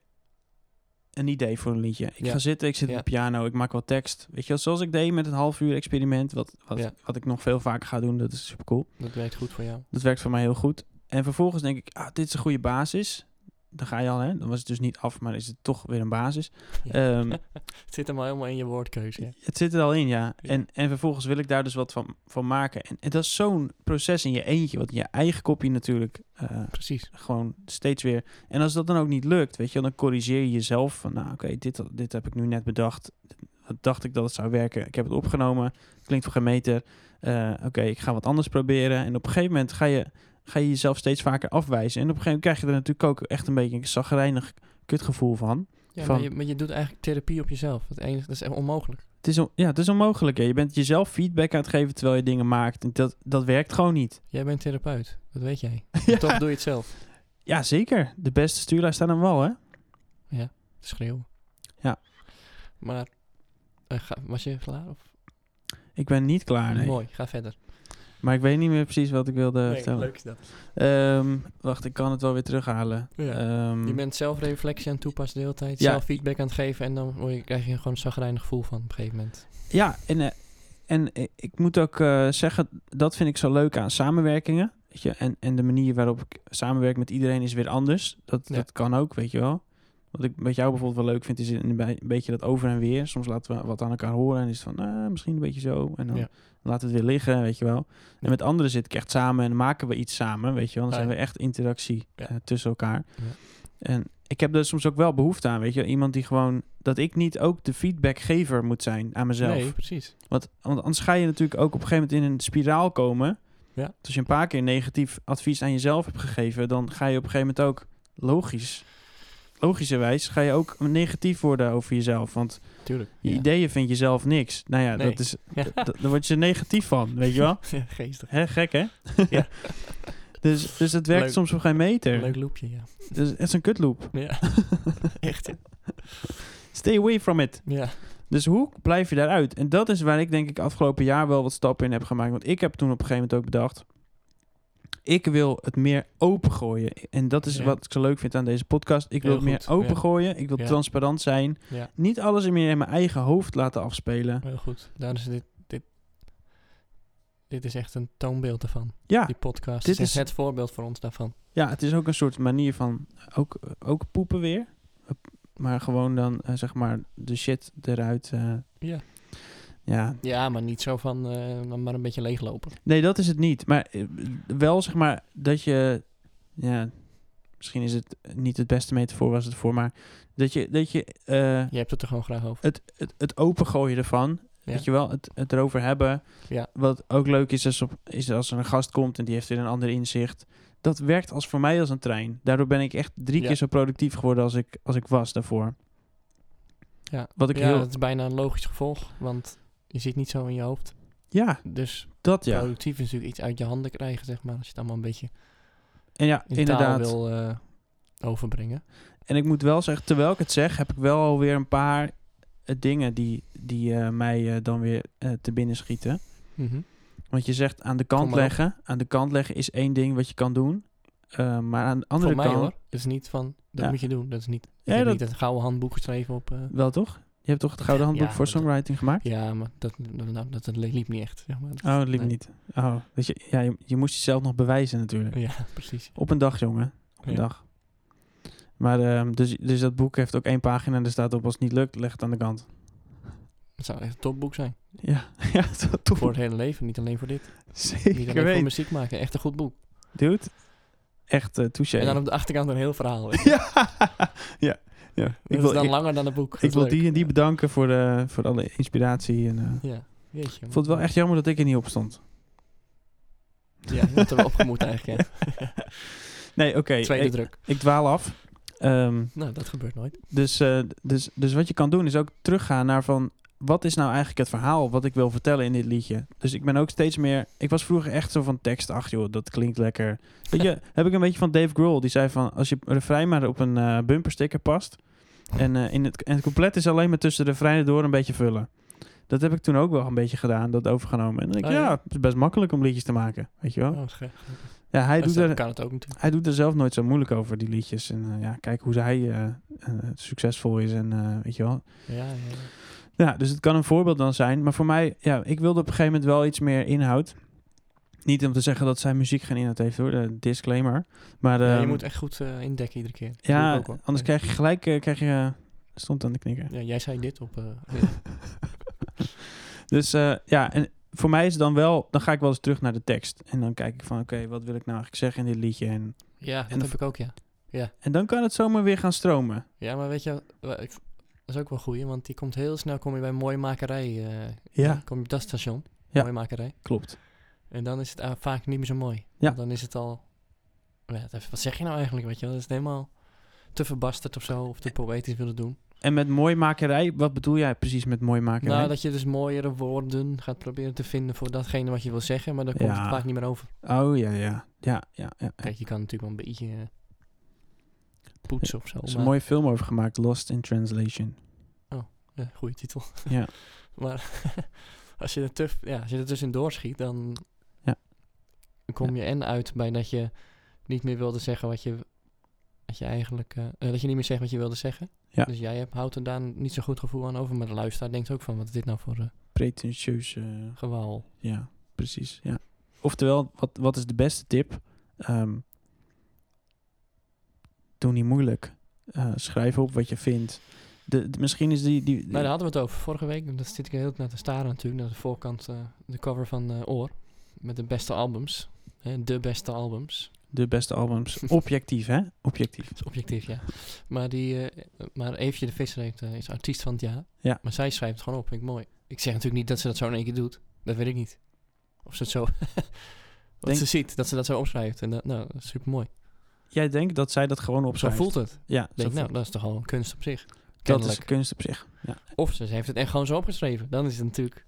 Speaker 1: Een idee voor een liedje. Ik
Speaker 2: Ja.
Speaker 1: ga zitten, ik zit op
Speaker 2: Ja.
Speaker 1: de piano, ik maak wat tekst. Weet je wel, zoals ik deed met het half uur experiment. Wat, wat,
Speaker 2: Ja.
Speaker 1: wat ik nog veel vaker ga doen, dat is super cool.
Speaker 2: Dat werkt goed voor jou.
Speaker 1: Dat werkt voor mij heel goed. En vervolgens denk ik, ah, dit is een goede basis. Dan ga je al, hè? Dan was het dus niet af, maar is het toch weer een basis.
Speaker 2: Ja.
Speaker 1: Ehm,
Speaker 2: Het zit hem al helemaal in je woordkeuze. Ja.
Speaker 1: het zit er al in, ja.
Speaker 2: Ja.
Speaker 1: En, en vervolgens wil ik daar dus wat van, van maken. En, en dat is zo'n proces in je eentje, wat in je eigen kopje natuurlijk eh,
Speaker 2: Precies.
Speaker 1: gewoon steeds weer. En als dat dan ook niet lukt, weet je, wel, dan corrigeer je jezelf van, nou oké, dit, dit heb ik nu net bedacht. Dat dacht ik dat het zou werken. Ik heb het opgenomen. Klinkt voor geen meter. Eh, oké, ik ga wat anders proberen. En op een gegeven moment ga je, ga je jezelf steeds vaker afwijzen. En op een gegeven moment krijg je er natuurlijk ook echt een beetje een zagrijnig kutgevoel van.
Speaker 2: Ja,
Speaker 1: Van-
Speaker 2: maar, je, maar je doet eigenlijk therapie op jezelf. Het enige, dat is echt onmogelijk.
Speaker 1: Het is, on- ja, het is onmogelijk. Hè. Je bent jezelf feedback aan het geven terwijl je dingen maakt. En Dat, dat werkt gewoon niet.
Speaker 2: Jij bent therapeut, dat weet jij.
Speaker 1: ja.
Speaker 2: Toch doe je het zelf.
Speaker 1: ja, zeker. De beste stuurlijst staat aan wal, hè?
Speaker 2: Schreeuwen.
Speaker 1: Ja.
Speaker 2: Maar, eh, ga- was je klaar? Of?
Speaker 1: Ik ben niet klaar, Ah, nee. Eh,
Speaker 2: Mooi, ga verder.
Speaker 1: Maar ik weet niet meer precies wat ik wilde vertellen.
Speaker 2: is dat.
Speaker 1: Ehm, wacht, ik kan het wel weer terughalen.
Speaker 2: Ja.
Speaker 1: Ehm,
Speaker 2: Je bent zelfreflectie aan het toepassen de hele tijd.
Speaker 1: Ja.
Speaker 2: Zelf feedback aan het geven. En dan word je, krijg je gewoon een zagrijnig gevoel van op een gegeven moment.
Speaker 1: Ja, en, eh, en i- ik moet ook eh, zeggen, dat vind ik zo leuk aan samenwerkingen. Weet je? En, en de manier waarop ik samenwerk met iedereen is weer anders. Dat,
Speaker 2: Ja.
Speaker 1: dat kan ook, weet je wel. Wat ik met jou bijvoorbeeld wel leuk vind, is een bij- een beetje dat over en weer. Soms laten we wat aan elkaar horen en is het van, ah, misschien een beetje zo. En dan
Speaker 2: Ja.
Speaker 1: laten we het weer liggen, weet je wel. En met anderen zit ik echt samen en maken we iets samen, weet je wel. Dan
Speaker 2: Ah,
Speaker 1: zijn
Speaker 2: ja.
Speaker 1: we echt interactie
Speaker 2: Ja.
Speaker 1: eh, tussen elkaar.
Speaker 2: Ja.
Speaker 1: En ik heb daar soms ook wel behoefte aan, weet je. wel. Iemand die gewoon, dat ik niet ook de feedbackgever moet zijn aan mezelf.
Speaker 2: Nee, precies.
Speaker 1: Want, want anders ga je natuurlijk ook op een gegeven moment in een spiraal komen.
Speaker 2: Ja.
Speaker 1: Dus als je een paar keer negatief advies aan jezelf hebt gegeven, dan ga je op een gegeven moment ook logisch, logischerwijs, ga je ook negatief worden over jezelf. Want
Speaker 2: Tuurlijk.
Speaker 1: je ideeën vind je zelf niks. Nou ja,
Speaker 2: Nee.
Speaker 1: dat is, d- d- daar word je negatief van, weet je wel?
Speaker 2: Geestig.
Speaker 1: Hè, gek hè?
Speaker 2: Ja.
Speaker 1: dus, dus het werkt
Speaker 2: Leuk.
Speaker 1: soms op geen meter.
Speaker 2: Leuk loopje, ja.
Speaker 1: Dus het is een kutloop.
Speaker 2: Ja. Echt, hè?
Speaker 1: Stay away from it.
Speaker 2: Ja.
Speaker 1: Dus hoe blijf je daaruit? En dat is waar ik denk ik afgelopen jaar wel wat stappen in heb gemaakt. Want ik heb toen op een gegeven moment ook bedacht... ik wil het meer opengooien. En dat is
Speaker 2: Ja.
Speaker 1: wat ik zo leuk vind aan deze podcast. Ik wil
Speaker 2: Heel
Speaker 1: het meer
Speaker 2: goed, ja.
Speaker 1: opengooien. Ik wil
Speaker 2: Ja.
Speaker 1: transparant zijn.
Speaker 2: Ja.
Speaker 1: Niet alles meer in mijn eigen hoofd laten afspelen.
Speaker 2: Heel goed. Daar is dit, dit... Dit is echt een toonbeeld daarvan.
Speaker 1: Ja,
Speaker 2: Die podcast
Speaker 1: Ah, dit
Speaker 2: dit is,
Speaker 1: is-
Speaker 2: het voorbeeld voor ons daarvan.
Speaker 1: ja, het is ook een soort manier van... ook, ook poepen weer. Maar gewoon dan, eh, zeg maar, de shit eruit... eh,
Speaker 2: Ja.
Speaker 1: ja,
Speaker 2: Ja, maar niet zo van... eh, maar een beetje leeglopen.
Speaker 1: Nee, dat is het niet. Maar eh, wel zeg maar dat je. Ja, misschien is het niet het beste metafoor, was het voor, maar dat je, dat je eh,
Speaker 2: Je hebt het er gewoon graag over.
Speaker 1: het, het, het opengooien ervan.
Speaker 2: Ja.
Speaker 1: Weet je wel, het, het erover hebben.
Speaker 2: Ja.
Speaker 1: Wat ook leuk is als, op, is als er een gast komt en die heeft weer een ander inzicht. Dat werkt als voor mij als een trein. Daardoor ben ik echt drie
Speaker 2: Ja.
Speaker 1: keer zo productief geworden als ik, als ik was daarvoor.
Speaker 2: Ja.
Speaker 1: Wat ik
Speaker 2: ja,
Speaker 1: heel.
Speaker 2: dat is bijna een logisch gevolg. Want je zit niet zo in je hoofd.
Speaker 1: Ja,
Speaker 2: Dus
Speaker 1: dat ja.
Speaker 2: productief is natuurlijk iets uit je handen krijgen, zeg maar. Als je het allemaal een beetje
Speaker 1: En ja,
Speaker 2: in
Speaker 1: inderdaad.
Speaker 2: taal wil eh, overbrengen.
Speaker 1: En ik moet wel zeggen, terwijl ik het zeg, heb ik wel alweer een paar eh, dingen die, die eh, mij eh, dan weer eh, te binnen schieten.
Speaker 2: Mhm.
Speaker 1: Want je zegt aan de
Speaker 2: Kom
Speaker 1: kant
Speaker 2: maar op.
Speaker 1: leggen. Aan de kant leggen is één ding wat je kan doen. Eh, maar aan de andere
Speaker 2: Voor mij
Speaker 1: kant.
Speaker 2: hoor. Het is niet van, dat
Speaker 1: Ja.
Speaker 2: moet je doen. Dat is niet, ik
Speaker 1: Ja,
Speaker 2: heb
Speaker 1: dat-
Speaker 2: niet het gouden handboek geschreven op... eh,
Speaker 1: Wel toch? Je hebt toch het Gouden Handboek
Speaker 2: Ja,
Speaker 1: voor
Speaker 2: maar dat-
Speaker 1: Songwriting gemaakt?
Speaker 2: ja, maar dat, dat, dat, dat liep niet echt, zeg maar. Dat-
Speaker 1: Oh, dat liep
Speaker 2: nee.
Speaker 1: niet. Oh, weet je, ja, je, je moest jezelf nog bewijzen natuurlijk.
Speaker 2: Ja, precies.
Speaker 1: Op een dag, jongen. Op een
Speaker 2: Ja.
Speaker 1: dag. Maar ehm, dus, dus dat boek heeft ook één pagina en er staat op als het niet lukt, leg het aan de kant.
Speaker 2: Dat zou echt een topboek zijn.
Speaker 1: Ja, ja dat toch.
Speaker 2: Voor het hele leven, niet alleen voor dit. Niet
Speaker 1: Zeker
Speaker 2: alleen voor
Speaker 1: weten.
Speaker 2: muziek maken, echt een goed boek.
Speaker 1: Dude, echt eh touché.
Speaker 2: En dan op de achterkant een heel verhaal. weet je.
Speaker 1: ja, ja, ja.
Speaker 2: Dat
Speaker 1: Ik
Speaker 2: is
Speaker 1: wil,
Speaker 2: dan
Speaker 1: ik,
Speaker 2: langer dan een boek. Dat
Speaker 1: ik
Speaker 2: is
Speaker 1: wil
Speaker 2: leuk.
Speaker 1: die en die bedanken voor, de, voor alle inspiratie. En, eh,
Speaker 2: Ja, jeetje.
Speaker 1: ik vond het wel echt jammer dat ik er niet op stond.
Speaker 2: Ja, je had er wel opgemoet eigenlijk, ja.
Speaker 1: Nee, oké.
Speaker 2: Tweede
Speaker 1: ik,
Speaker 2: druk.
Speaker 1: ik dwaal af. Ehm,
Speaker 2: Nou, dat gebeurt nooit.
Speaker 1: dus, eh, dus, dus wat je kan doen is ook teruggaan naar van... Wat is nou eigenlijk het verhaal wat ik wil vertellen in dit liedje? Dus ik ben ook steeds meer... Ik was vroeger echt zo van tekst. Ach joh, dat klinkt lekker. Weet je, heb ik een beetje van Dave Grohl. Die zei van, als je refrein maar op een eh, bumpersticker past... En, eh, in het, en het compleet is alleen maar tussen de refreinen door een beetje vullen. Dat heb ik toen ook wel een beetje gedaan, dat overgenomen. En dan denk ik,
Speaker 2: Oh,
Speaker 1: ja,
Speaker 2: ja.
Speaker 1: het is best makkelijk om liedjes te maken, weet je wel.
Speaker 2: Oh, scherp.
Speaker 1: Ja, hij doet,
Speaker 2: Dat
Speaker 1: er,
Speaker 2: kan het ook natuurlijk.
Speaker 1: hij doet er zelf nooit zo moeilijk over, die liedjes. En eh, ja, kijk hoe hij eh, eh, succesvol is en eh, weet je wel.
Speaker 2: Ja, ja, ja.
Speaker 1: Ja, dus het kan een voorbeeld dan zijn. Maar voor mij, ja, ik wilde op een gegeven moment wel iets meer inhoud. Niet om te zeggen dat zijn muziek geen inhoud heeft hoor, eh, disclaimer. Maar
Speaker 2: Ja, je
Speaker 1: ehm,
Speaker 2: moet echt goed eh, indekken iedere keer. Dat doe
Speaker 1: ja,
Speaker 2: ik ook wel.
Speaker 1: anders
Speaker 2: Ja.
Speaker 1: krijg je gelijk, eh, krijg je, eh, stond aan de knikker.
Speaker 2: Ja, jij zei dit op... eh,
Speaker 1: Dus eh, ja, en voor mij is het dan wel, dan ga ik wel eens terug naar de tekst. En dan kijk ik van, oké, wat wil ik nou eigenlijk zeggen in dit liedje? En,
Speaker 2: ja,
Speaker 1: En
Speaker 2: dat
Speaker 1: de-
Speaker 2: heb ik ook, ja.
Speaker 1: en dan kan het zomaar weer gaan stromen.
Speaker 2: Ja, maar weet je, wa- ik- dat is ook wel goed, want die komt heel snel kom je bij Mooie Makerij. eh,
Speaker 1: Ja.
Speaker 2: Kom je op dat station,
Speaker 1: Ja.
Speaker 2: Mooie Makerij.
Speaker 1: Klopt.
Speaker 2: En dan is het eh, vaak niet meer zo mooi.
Speaker 1: Ja.
Speaker 2: Dan is het al... Ja, dat- wat zeg je nou eigenlijk, weet je wel? Dat is het helemaal te verbasterd of zo, of te poëtisch willen doen.
Speaker 1: En met mooimakerij, wat bedoel jij precies met mooimakerij?
Speaker 2: Nou, dat je dus mooiere woorden gaat proberen te vinden voor datgene wat je wil zeggen, maar dan komt
Speaker 1: Ja.
Speaker 2: het vaak niet meer over.
Speaker 1: Oh ja, ja. Ja, ja, ja. Er
Speaker 2: Kijk, je kan natuurlijk wel een beetje eh, poetsen of zo.
Speaker 1: is een
Speaker 2: maar-
Speaker 1: mooie film over gemaakt, Lost in Translation.
Speaker 2: Ja, goede titel.
Speaker 1: Ja.
Speaker 2: maar als je er, te, ja, als je er tussendoor schiet, dan
Speaker 1: Ja.
Speaker 2: dan kom je en uit bij dat je niet meer wilde zeggen wat je, wat je eigenlijk... eh, eh, dat je niet meer zegt wat je wilde zeggen.
Speaker 1: Ja.
Speaker 2: Dus jij hebt, houdt er daar niet zo'n goed gevoel aan over. Maar de luisteraar denkt ook van, wat is dit nou voor eh
Speaker 1: Pretentieus, eh,
Speaker 2: gewaal?
Speaker 1: ja, precies. Ja. Oftewel, wat, wat is de beste tip? Ehm, doe niet moeilijk. Eh, schrijf op wat je vindt. De, de- misschien is die... die, die-
Speaker 2: Nou, daar hadden we het over vorige week. En daar zit ik heel naar te staren natuurlijk. Naar de voorkant, eh, de cover van eh, Oor. Met de beste albums. Hè, de beste albums.
Speaker 1: de beste albums. Objectief, hè? Objectief.
Speaker 2: Dat is objectief, ja. Maar, die, eh, maar Eefje de Visser heeft, eh, is artiest van het jaar.
Speaker 1: Ja.
Speaker 2: Maar zij schrijft het gewoon op, vind ik mooi. Ik zeg natuurlijk niet dat ze dat zo in één keer doet. Dat weet ik niet. Of ze het zo... wat
Speaker 1: Denk-
Speaker 2: ze ziet, dat ze dat zo opschrijft. En dat, nou, super mooi.
Speaker 1: Jij denkt dat zij dat gewoon
Speaker 2: Zo
Speaker 1: opschrijft?
Speaker 2: voelt het.
Speaker 1: Ja, zo
Speaker 2: Denk, ik,
Speaker 1: voelt-
Speaker 2: nou, dat is toch al een kunst op zich.
Speaker 1: dat is
Speaker 2: Kennelijk.
Speaker 1: kunst op zich.
Speaker 2: Of ze, ze heeft het echt gewoon zo opgeschreven. Dan is het natuurlijk...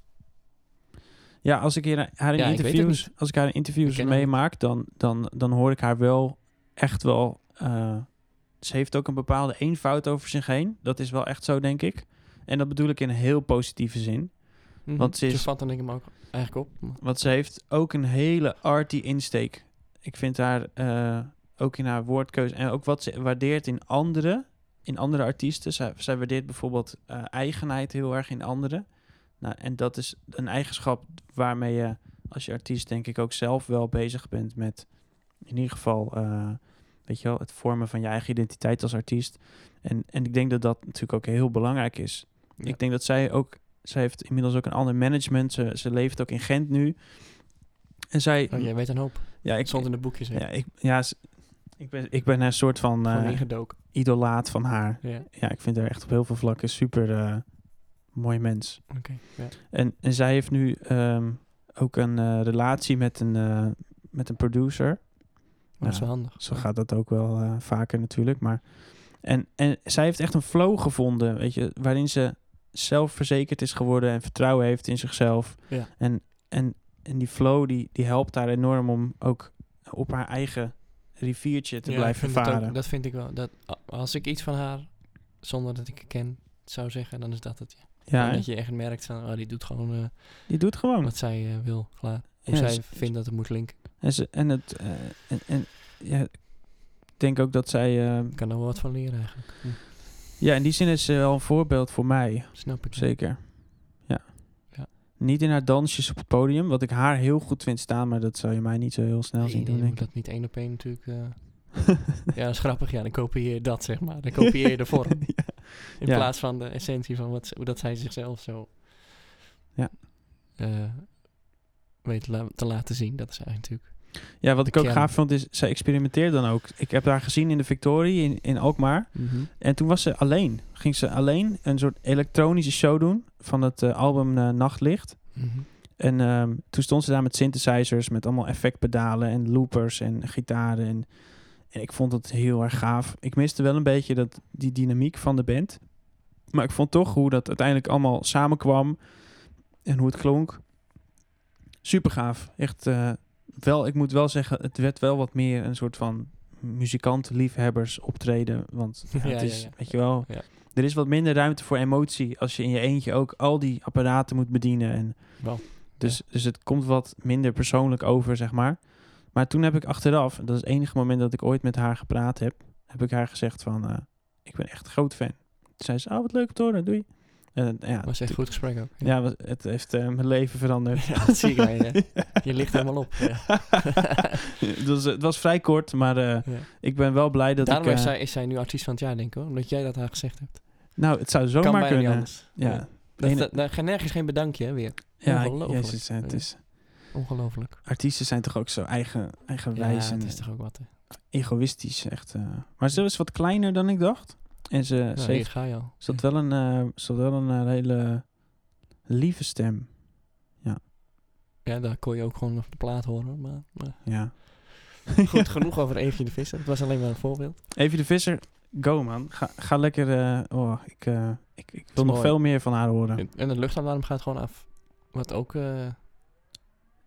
Speaker 1: Ja, als ik hier- haar in
Speaker 2: Ja, ik weet het
Speaker 1: interviews, als ik haar in
Speaker 2: Ik
Speaker 1: interviews
Speaker 2: ken haar niet.
Speaker 1: meemaak, dan, dan, dan hoor ik haar wel echt wel. eh, ze heeft ook een bepaalde eenvoud over zich heen. Dat is wel echt zo, denk ik. En dat bedoel ik in een heel positieve zin.
Speaker 2: Mhm.
Speaker 1: Want ze is-
Speaker 2: Zo vat dan ik hem ook eigenlijk op. Maar-
Speaker 1: Want ze heeft ook een hele arty insteek. Ik vind haar eh, ook in haar woordkeuze en ook wat ze waardeert in anderen, in andere artiesten. Zij, zij waardeert bijvoorbeeld eh, eigenheid heel erg in anderen. Nou, en dat is een eigenschap waarmee je als je artiest denk ik ook zelf wel bezig bent met in ieder geval eh, weet je wel, het vormen van je eigen identiteit als artiest. En, en ik denk dat dat natuurlijk ook heel belangrijk is.
Speaker 2: Ja.
Speaker 1: Ik denk dat zij ook, zij heeft inmiddels ook een ander management. Ze, ze leeft ook in Gent nu. En zij,
Speaker 2: Oh, jij weet een hoop.
Speaker 1: ja,
Speaker 2: Ik
Speaker 1: ik,
Speaker 2: stond in de boekjes. hè.
Speaker 1: ja, ik, ja, ze- ik, ben, ik ben een soort van
Speaker 2: Gewoon
Speaker 1: eh,
Speaker 2: ingedoken.
Speaker 1: idolaat van haar.
Speaker 2: Ja,
Speaker 1: Ja, ik vind haar echt op heel veel vlakken super eh, mooi mens.
Speaker 2: oké. Ja.
Speaker 1: En, en zij heeft nu ehm, ook een eh, relatie met een, eh, met een producer.
Speaker 2: Maar Dat is
Speaker 1: Ja,
Speaker 2: wel handig.
Speaker 1: Zo gaat dat ook wel eh, vaker natuurlijk. Maar, en, en zij heeft echt een flow gevonden, weet je, waarin ze zelfverzekerd is geworden en vertrouwen heeft in zichzelf.
Speaker 2: Ja.
Speaker 1: En, en, en die flow die, die helpt haar enorm om ook op haar eigen riviertje te
Speaker 2: Ja,
Speaker 1: blijven
Speaker 2: ik vind het ook-
Speaker 1: varen.
Speaker 2: dat vind ik wel. Dat, a- als ik iets van haar, zonder dat ik het ken, zou zeggen, dan is dat het. Ja.
Speaker 1: ja,
Speaker 2: Dat je echt merkt van, oh, die doet gewoon eh,
Speaker 1: die doet gewoon.
Speaker 2: wat zij eh, wil, klaar. Hoe
Speaker 1: Ja,
Speaker 2: zij
Speaker 1: ze-
Speaker 2: vindt dat het moet linken.
Speaker 1: En, ze, en het. eh, en, en, ja, ik denk ook dat zij. eh,
Speaker 2: Ik kan er wel wat van leren eigenlijk.
Speaker 1: ja, in die zin is ze wel een voorbeeld voor mij.
Speaker 2: Snap ik.
Speaker 1: Zeker. Ja.
Speaker 2: Ja.
Speaker 1: Niet in haar dansjes op het podium, wat ik haar heel goed vind staan, maar dat zou je mij niet zo heel snel
Speaker 2: Nee,
Speaker 1: zien
Speaker 2: nee,
Speaker 1: doen,
Speaker 2: je
Speaker 1: denk
Speaker 2: moet
Speaker 1: ik.
Speaker 2: dat niet één op één natuurlijk. eh. ja, dat is grappig. Ja, dan kopieer je dat, zeg maar. Dan kopieer je de vorm. In
Speaker 1: Ja.
Speaker 2: plaats van de essentie van wat, ze- hoe dat zij zichzelf zo
Speaker 1: Ja.
Speaker 2: eh, weet la- te laten zien. Dat is eigenlijk natuurlijk...
Speaker 1: Ja, wat ik
Speaker 2: De
Speaker 1: ook
Speaker 2: kern.
Speaker 1: gaaf vond is, zij experimenteert dan ook. Ik heb haar gezien in de Victorie in, in Alkmaar. En toen was ze alleen. Ging ze alleen een soort elektronische show doen van het eh, album eh, Nachtlicht.
Speaker 2: Mhm.
Speaker 1: En ehm, toen stond ze daar met synthesizers, met allemaal effectpedalen en loopers en gitaren. En, en ik vond het heel erg gaaf. Ik miste wel een beetje dat, die dynamiek van de band. Maar ik vond toch hoe dat uiteindelijk allemaal samenkwam en hoe het klonk. Super gaaf. Echt eh, wel, ik moet wel zeggen, het werd wel wat meer een soort van muzikantenliefhebbers optreden. Want ja,
Speaker 2: Ja,
Speaker 1: het
Speaker 2: ja,
Speaker 1: is,
Speaker 2: ja.
Speaker 1: weet je wel,
Speaker 2: Ja.
Speaker 1: er is wat minder ruimte voor emotie als je in je eentje ook al die apparaten moet bedienen. En
Speaker 2: Wel.
Speaker 1: dus, dus het komt wat minder persoonlijk over, zeg maar. Maar toen heb ik achteraf, dat is het enige moment dat ik ooit met haar gepraat heb, heb ik haar gezegd van, eh, ik ben echt groot fan. Toen zei ze, oh wat leuk om te horen, doei. En, eh, ja,
Speaker 2: was echt
Speaker 1: tu-
Speaker 2: een goed gesprek ook.
Speaker 1: Ja, was- het heeft eh, mijn leven veranderd.
Speaker 2: Ja, dat zie ik aan je. Je ligt helemaal op. Ja.
Speaker 1: het, was, het was vrij kort, maar eh,
Speaker 2: Ja.
Speaker 1: ik ben wel blij dat
Speaker 2: Daarom
Speaker 1: ik...
Speaker 2: is,
Speaker 1: eh,
Speaker 2: zij, is zij nu artiest van het jaar, denk ik hoor. Omdat jij dat haar gezegd hebt.
Speaker 1: Nou, het zou
Speaker 2: kan
Speaker 1: zomaar
Speaker 2: bijna niet
Speaker 1: kunnen.
Speaker 2: anders.
Speaker 1: Ja,
Speaker 2: Dat,
Speaker 1: Nee,
Speaker 2: dat, daar ga nergens geen bedankje hè, weer.
Speaker 1: ja ik-
Speaker 2: Ongelooflijk.
Speaker 1: jezus, eh, het
Speaker 2: Ja.
Speaker 1: is,
Speaker 2: Ongelooflijk.
Speaker 1: artiesten zijn toch ook zo eigen, eigenwijs
Speaker 2: Ja,
Speaker 1: en
Speaker 2: dat is toch ook wat. Hè.
Speaker 1: egoïstisch. Echt, eh. Maar ze is wat kleiner dan ik dacht. En ze,
Speaker 2: Nou,
Speaker 1: ze
Speaker 2: hier
Speaker 1: heeft
Speaker 2: ga je al.
Speaker 1: Ze had wel een, eh, ze had wel een eh, hele lieve stem.
Speaker 2: Ja, daar kon je ook gewoon op de plaat horen. Maar, eh. maar
Speaker 1: Ja.
Speaker 2: goed, genoeg over Eefje de Visser. Het was alleen maar een voorbeeld.
Speaker 1: Evie de Visser, go man. Ga, ga lekker. eh, oh, ik, eh, ik, ik wil nog
Speaker 2: mooi.
Speaker 1: veel meer van haar horen.
Speaker 2: En de luchtalarm gaat gewoon af. Wat ook... eh,
Speaker 1: Ja,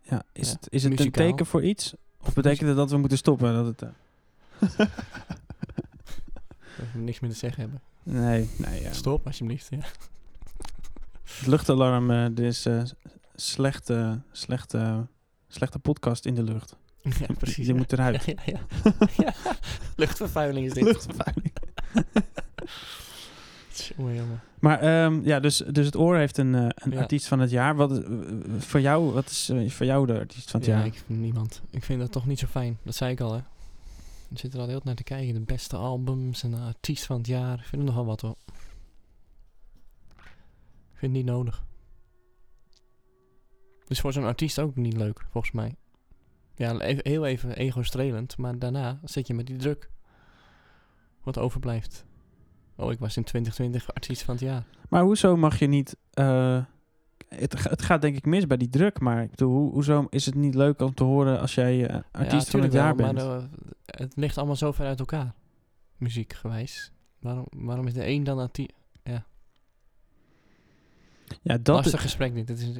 Speaker 1: is
Speaker 2: Ja,
Speaker 1: het, is het een
Speaker 2: muzikaal.
Speaker 1: teken voor iets? Of betekent het dat we moeten stoppen? Dat het, eh,
Speaker 2: dat we niks meer te zeggen hebben.
Speaker 1: nee, nee. Ja.
Speaker 2: Stop, alsjeblieft. Ja.
Speaker 1: Het luchtalarm, eh dit is eh, s- slechte, slechte, slechte podcast in de lucht.
Speaker 2: ja, precies.
Speaker 1: Je
Speaker 2: ja.
Speaker 1: moet eruit.
Speaker 2: Ja, ja, ja. Luchtvervuiling is dit.
Speaker 1: Luchtvervuiling.
Speaker 2: Jongen, jongen.
Speaker 1: Maar ehm, ja, dus, dus het oor heeft een, eh, een
Speaker 2: Ja.
Speaker 1: artiest van het jaar. Wat, eh, eh, voor jou, wat is eh, voor jou de artiest van het
Speaker 2: ja,
Speaker 1: jaar?
Speaker 2: ik vind niemand. Ik vind dat toch niet zo fijn. Dat zei ik al, hè. We zitten er al heel naar te kijken. De beste albums en de artiest van het jaar. Ik vind er nogal wat, hoor. Ik vind het niet nodig. Dus voor zo'n artiest ook niet leuk, volgens mij. Ja, even, heel even ego-strelend. Maar daarna zit je met die druk. Wat overblijft. Oh, ik was in 2020 artiest van het jaar.
Speaker 1: Maar hoezo mag je niet... eh, het, ga- het gaat denk ik mis bij die druk, maar ik bedoel, hoe- hoezo is het niet leuk om te horen als jij eh, artiest van het
Speaker 2: tuurlijk
Speaker 1: jaar
Speaker 2: wel,
Speaker 1: bent?
Speaker 2: Maar eh, het ligt allemaal zo ver uit elkaar, muziekgewijs. Waarom, waarom is de een dan artiest?
Speaker 1: ja, dat
Speaker 2: Lastig gesprek dit. dit is,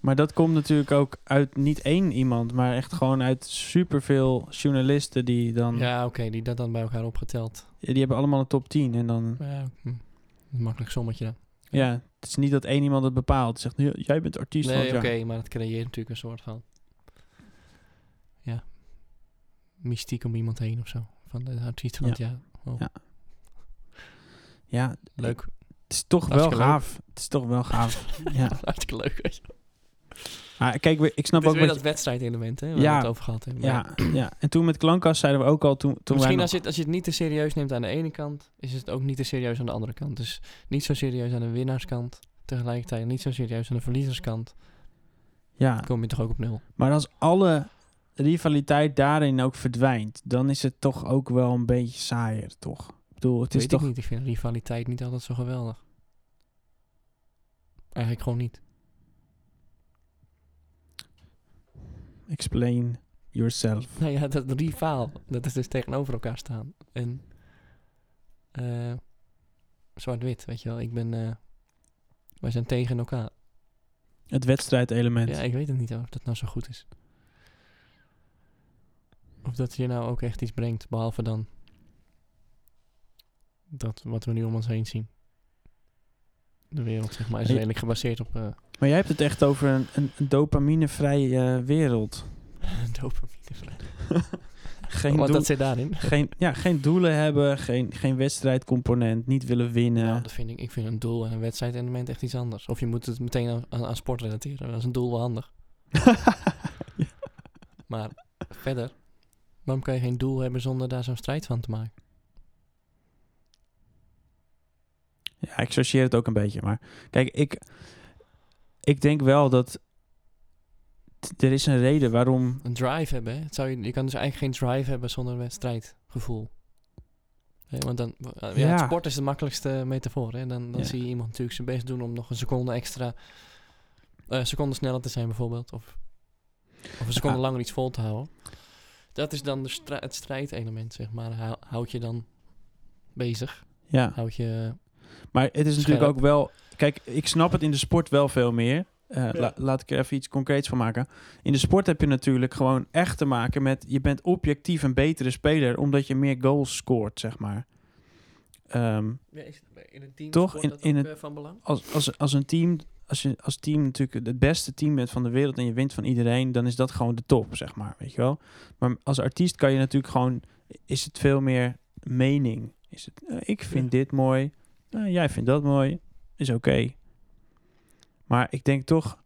Speaker 1: Maar dat komt natuurlijk ook uit niet één iemand, maar echt gewoon uit superveel journalisten die dan...
Speaker 2: ja, oké, die dat dan bij elkaar opgeteld.
Speaker 1: Die hebben allemaal een top 10 en dan...
Speaker 2: Ja, hm, een makkelijk sommetje dan.
Speaker 1: Ja, het is niet dat één iemand het bepaalt. Zegt, "Ja, jij bent artiest van
Speaker 2: Nee,
Speaker 1: het
Speaker 2: oké,
Speaker 1: jaar."
Speaker 2: maar dat creëert natuurlijk een soort van... Ja, mystiek om iemand heen of zo. Van de artiest van
Speaker 1: Ja.
Speaker 2: het jaar. Wow,
Speaker 1: Ja. Ja,
Speaker 2: Leuk.
Speaker 1: het is toch wel
Speaker 2: Hartstikke leuk.
Speaker 1: gaaf. Het is toch wel gaaf. ja.
Speaker 2: Hartstikke leuk. weet je.
Speaker 1: Maar kijk, we- ik snap
Speaker 2: Het is
Speaker 1: ook
Speaker 2: weer
Speaker 1: wat
Speaker 2: dat
Speaker 1: je-
Speaker 2: wedstrijdelement, hè, waar
Speaker 1: Ja.
Speaker 2: we het over gehad hebben. Maar-
Speaker 1: Ja, ja, en toen met Klankkast zeiden we ook al... Toen, toen wij
Speaker 2: Misschien
Speaker 1: nog-
Speaker 2: als je, het, als je het niet te serieus neemt aan de ene kant, is het ook niet te serieus aan de andere kant. Dus niet zo serieus aan de winnaarskant, tegelijkertijd niet zo serieus aan de verliezerskant.
Speaker 1: Ja,
Speaker 2: Dan kom je toch ook op nul.
Speaker 1: maar als alle rivaliteit daarin ook verdwijnt... dan is het toch ook wel een beetje saaier, toch? Ik bedoel, het
Speaker 2: Weet
Speaker 1: is
Speaker 2: ik
Speaker 1: toch...
Speaker 2: niet, ik vind rivaliteit niet altijd zo geweldig. Eigenlijk gewoon niet.
Speaker 1: Explain yourself.
Speaker 2: Nou ja, dat rivaal, dat is dus tegenover elkaar staan. En eh, zwart-wit, weet je wel. Ik ben, eh, wij zijn tegen elkaar.
Speaker 1: Het wedstrijdelement.
Speaker 2: Ja, ik weet het niet hoor, of dat nou zo goed is. Of dat je nou ook echt iets brengt, behalve dan dat wat we nu om ons heen zien. De wereld, zeg maar, is
Speaker 1: Hey.
Speaker 2: redelijk gebaseerd op eh
Speaker 1: Maar jij hebt het echt over een, een, een dopaminevrije eh, wereld.
Speaker 2: dopamine.
Speaker 1: Geen,
Speaker 2: Want
Speaker 1: doel-
Speaker 2: dat zit daarin.
Speaker 1: geen, ja, geen doelen hebben, geen, geen wedstrijdcomponent, niet willen winnen.
Speaker 2: Nou, dat vind ik, ik vind een doel en een wedstrijd en moment echt iets anders. Of je moet het meteen aan, aan, aan sport relateren. Dat is een doel wel handig.
Speaker 1: Ja.
Speaker 2: Maar verder, waarom kan je geen doel hebben zonder daar zo'n strijd van te maken?
Speaker 1: Ja,
Speaker 2: dus-
Speaker 1: ik associeer het ook een beetje. Maar kijk, ik, ik denk wel dat t- er is een reden waarom...
Speaker 2: een drive hebben. Hè? Het zou je, je kan dus eigenlijk geen drive hebben zonder wedstrijdgevoel. Hè, want dan, eh, ja, het
Speaker 1: Ja.
Speaker 2: sport is de makkelijkste metafoor. Hè? Dan, dan
Speaker 1: Ja.
Speaker 2: zie je iemand natuurlijk zijn best doen om nog een seconde extra, eh seconde sneller te zijn bijvoorbeeld. Of, of een seconde
Speaker 1: Ja.
Speaker 2: langer iets vol te houden. Dat is dan de strij- het strijdelement, zeg maar. Hou- Houd je dan bezig.
Speaker 1: Ja,
Speaker 2: Houd je...
Speaker 1: maar het is natuurlijk
Speaker 2: Scherp.
Speaker 1: ook wel... Kijk, ik snap het in de sport wel veel meer. Eh,
Speaker 2: Ja.
Speaker 1: la- laat ik er even iets concreets van maken. In de sport heb je natuurlijk gewoon echt te maken met... Je bent objectief een betere speler omdat je meer goals scoort, zeg maar. Ehm,
Speaker 2: in het team
Speaker 1: Toch? sport In- dat in ook,
Speaker 2: eh, van belang?
Speaker 1: als, als, als een team, als je als team natuurlijk het beste team bent van de wereld en je wint van iedereen, dan is dat gewoon de top, zeg maar, weet je wel. Maar als artiest kan je natuurlijk gewoon, is het veel meer mening. Is het, eh, ik vind dit mooi, eh, jij vindt dat mooi, is oké. Maar ik denk toch,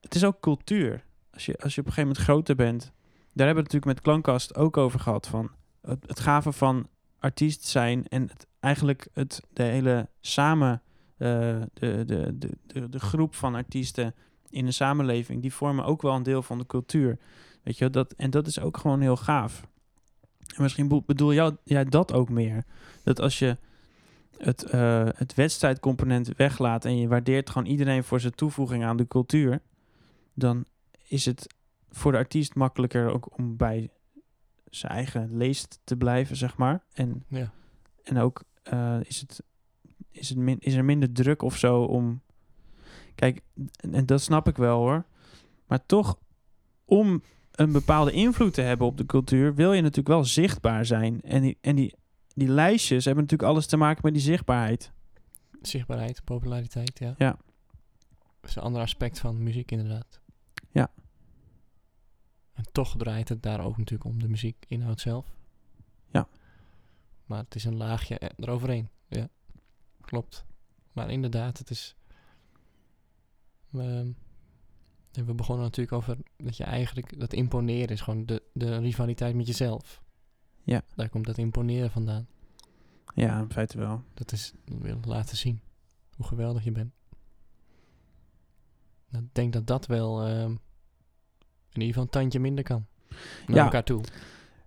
Speaker 1: het is ook cultuur. Als je, als je op een gegeven moment groter bent, daar hebben we het natuurlijk met Klankkast ook over gehad van het, het gave van artiest zijn en het, eigenlijk het, de hele samen, eh, de, de, de, de, de groep van artiesten in de samenleving, die vormen ook wel een deel van de cultuur. Weet je, wel, dat, en dat is ook gewoon heel gaaf. En misschien boe- bedoel jou- jij dat ook meer. Dat als je het, eh, het wedstrijdcomponent weglaat en je waardeert gewoon iedereen voor zijn toevoeging aan de cultuur, dan is het voor de artiest makkelijker ook om bij zijn eigen leest te blijven, zeg maar. En,
Speaker 2: Ja.
Speaker 1: en ook eh, is, het, is, het min, is er minder druk of zo om... Kijk, en, en dat snap ik wel hoor. Maar toch, om een bepaalde invloed te hebben op de cultuur... wil je natuurlijk wel zichtbaar zijn. En die, en die, die lijstjes hebben natuurlijk alles te maken met die zichtbaarheid.
Speaker 2: Zichtbaarheid, populariteit, ja.
Speaker 1: Ja.
Speaker 2: Dat is een ander aspect van muziek, inderdaad.
Speaker 1: Ja.
Speaker 2: En toch draait het daar ook natuurlijk om de muziekinhoud zelf.
Speaker 1: Ja.
Speaker 2: Maar het is een laagje eh, eroverheen. Ja, klopt. Maar inderdaad, het is... Ehm, en we begonnen natuurlijk over dat je eigenlijk... Dat imponeren is gewoon de, de rivaliteit met jezelf.
Speaker 1: Ja.
Speaker 2: Daar komt dat imponeren vandaan.
Speaker 1: Ja, in feite wel.
Speaker 2: Dat is wil laten zien hoe geweldig je bent. Nou, Ik denk dat dat wel ehm, in ieder geval een tandje minder kan. Naar
Speaker 1: Ja.
Speaker 2: elkaar toe.